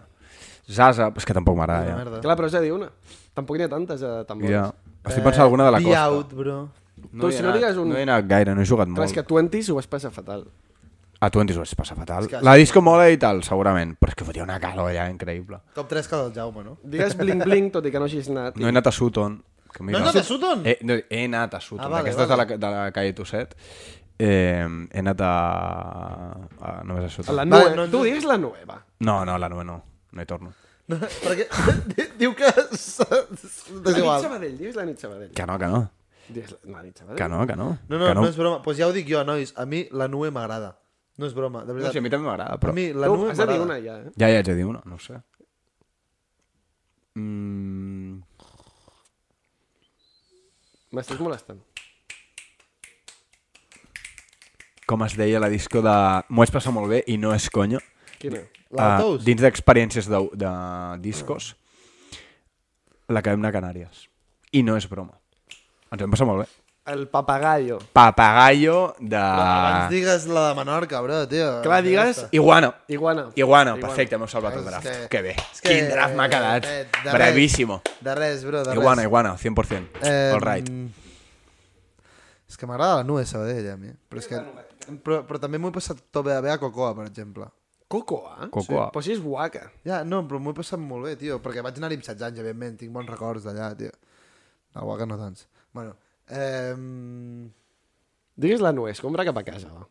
S2: Zaza, és que tampoc m'agrada,
S1: Una
S2: Eh, ja.
S1: merda.
S5: Clar, però has de dir una. Tampoc n'hi ha tantes eh, tan bones.
S2: ja. Estic pensant alguna de la
S1: Eh, Be
S2: costa.
S1: Out, bro.
S2: No,
S5: Tu,
S2: hi he
S5: Eh, si no
S2: anat-
S5: digues un-
S2: no he anat gaire, no he jugat
S5: Clar,
S2: molt.
S5: és que Twenties ho vas passar fatal.
S2: A Twenties ho vaig passar fatal.
S1: que-
S2: La disco mola i tal, segurament, però és que fotia una calor allà increïble.
S1: Com tres que del Jaume, no?
S5: Digues Bling Bling, tot i que no hagis anat.
S2: No he anat a Sutton. Que mira,
S1: No has anat a Sutton?
S2: He, no, he anat a Sutton.
S1: Ah,
S2: Ah,
S1: vale,
S2: vale, Aquesta
S1: vale.
S2: és de la, de la calle Tosset. Eh, ah, he anat a... a només a
S5: A
S2: Sutton.
S5: la
S1: Va,
S5: nue...
S1: no, no.
S5: Tu digues la nueva.
S2: No, no, a la 9 no. No hi torno.
S1: no perquè diu que...
S5: La nit
S1: Desigual.
S5: Sabadell, digues la nit Sabadell.
S2: Que no, que no.
S5: Digues la, la nit Sabadell.
S2: Que no, que no.
S1: No, no,
S2: que
S1: no és broma. Doncs pues ja ho dic jo, nois. A mi la nue m'agrada. No és broma, de
S2: No,
S1: veritat.
S2: sí, a mi també m'agrada,
S1: a
S2: però...
S1: mi la
S5: Tu
S1: nue
S5: has de dir una
S1: m'agrada.
S5: ja, eh?
S2: Ja, ja haig de dir una, no ho sé. Mm...
S5: M'estàs molestant.
S2: Com es deia la disco de... M'ho vaig passar molt bé i no és conya.
S5: Quina?
S1: L'Altous?
S2: Ah, dins d'experiències de, de discos, la que vam anar a Canàries. I no és broma. Ens vam passar molt bé.
S5: El papagayo.
S2: Papagayo de...
S1: Abans digues la de Menorca, bro, tio.
S5: Clar, digues
S2: Iguana.
S5: iguana.
S2: Iguana, perfecte, m'heu salvat el
S1: És
S2: draft.
S1: que-
S2: Que, bé.
S1: és que-
S2: Quin draft m'ha quedat.
S1: eh, de res.
S2: Bravíssimo.
S1: De res, bro, de res.
S2: Iguana, iguana, 100%.
S1: Eh,
S2: All right.
S1: És que m'agrada la nue Sabadell, a mi. Però, és que, però, però també m'ho he passat tot bé a, bé a Cocoa, per exemple.
S5: Cocoa?
S2: Cocoa.
S5: Però si és guaca.
S1: Ja, no, però m'ho he passat molt bé, tio, perquè vaig anar-hi amb 16 anys, evidentment, tinc bons records d'allà, tio. El Waka no tants. Bueno, ehm...
S5: Digues la nuez, compra cap a casa, va.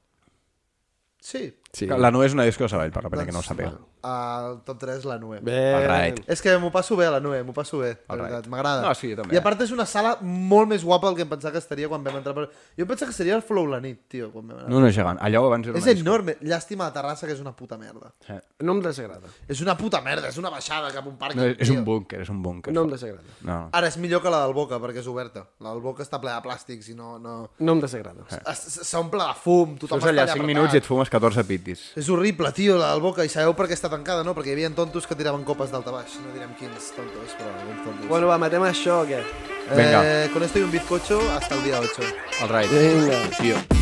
S1: sí,
S5: Sí.
S2: La no és una disco de Sabadell, per la pena que no ho sàpiga.
S1: al top 3 la nue.
S5: Bé.
S2: All right.
S1: És que m'ho passo bé a la nue, m'ho passo bé, de
S2: Alright.
S1: veritat, m'agrada.
S2: No, sí, jo també.
S1: I a part és una sala molt més guapa del que em pensava que estaria quan vam entrar. Per... Jo em pensava que seria el Flow la nit, tio, quan vam anar.
S2: No, no és gegant. Allò abans era
S1: és
S2: una disco. Eh,
S1: enorme, llàstima la terrassa que és una puta merda.
S5: No em desagrada.
S1: És una puta merda, és una baixada cap a un parc.
S2: No, és, és un búnquer, és un búnquer.
S5: No em desagrada.
S2: no.
S1: Ara és millor que la del Boca, perquè és oberta. La del Boca està plena de plàstics i no... no...
S5: No em desagrada.
S1: Es- s- S'omple de fum, tothom
S2: Estàs allà 5
S1: apretat.
S2: minuts i et fumes 14 pitis.
S1: És horrible, tio, la del Boca. I sabeu per què està tancada, no? Perquè hi havia tontos que tiraven copes d'alta baix. No direm quins tontos, però alguns tontos.
S5: Bueno, va, matem això o què?
S1: eh,
S2: Vinga.
S1: con esto y un bizcocho hasta el día 8.
S2: All right.
S5: Vinga.
S2: Tio.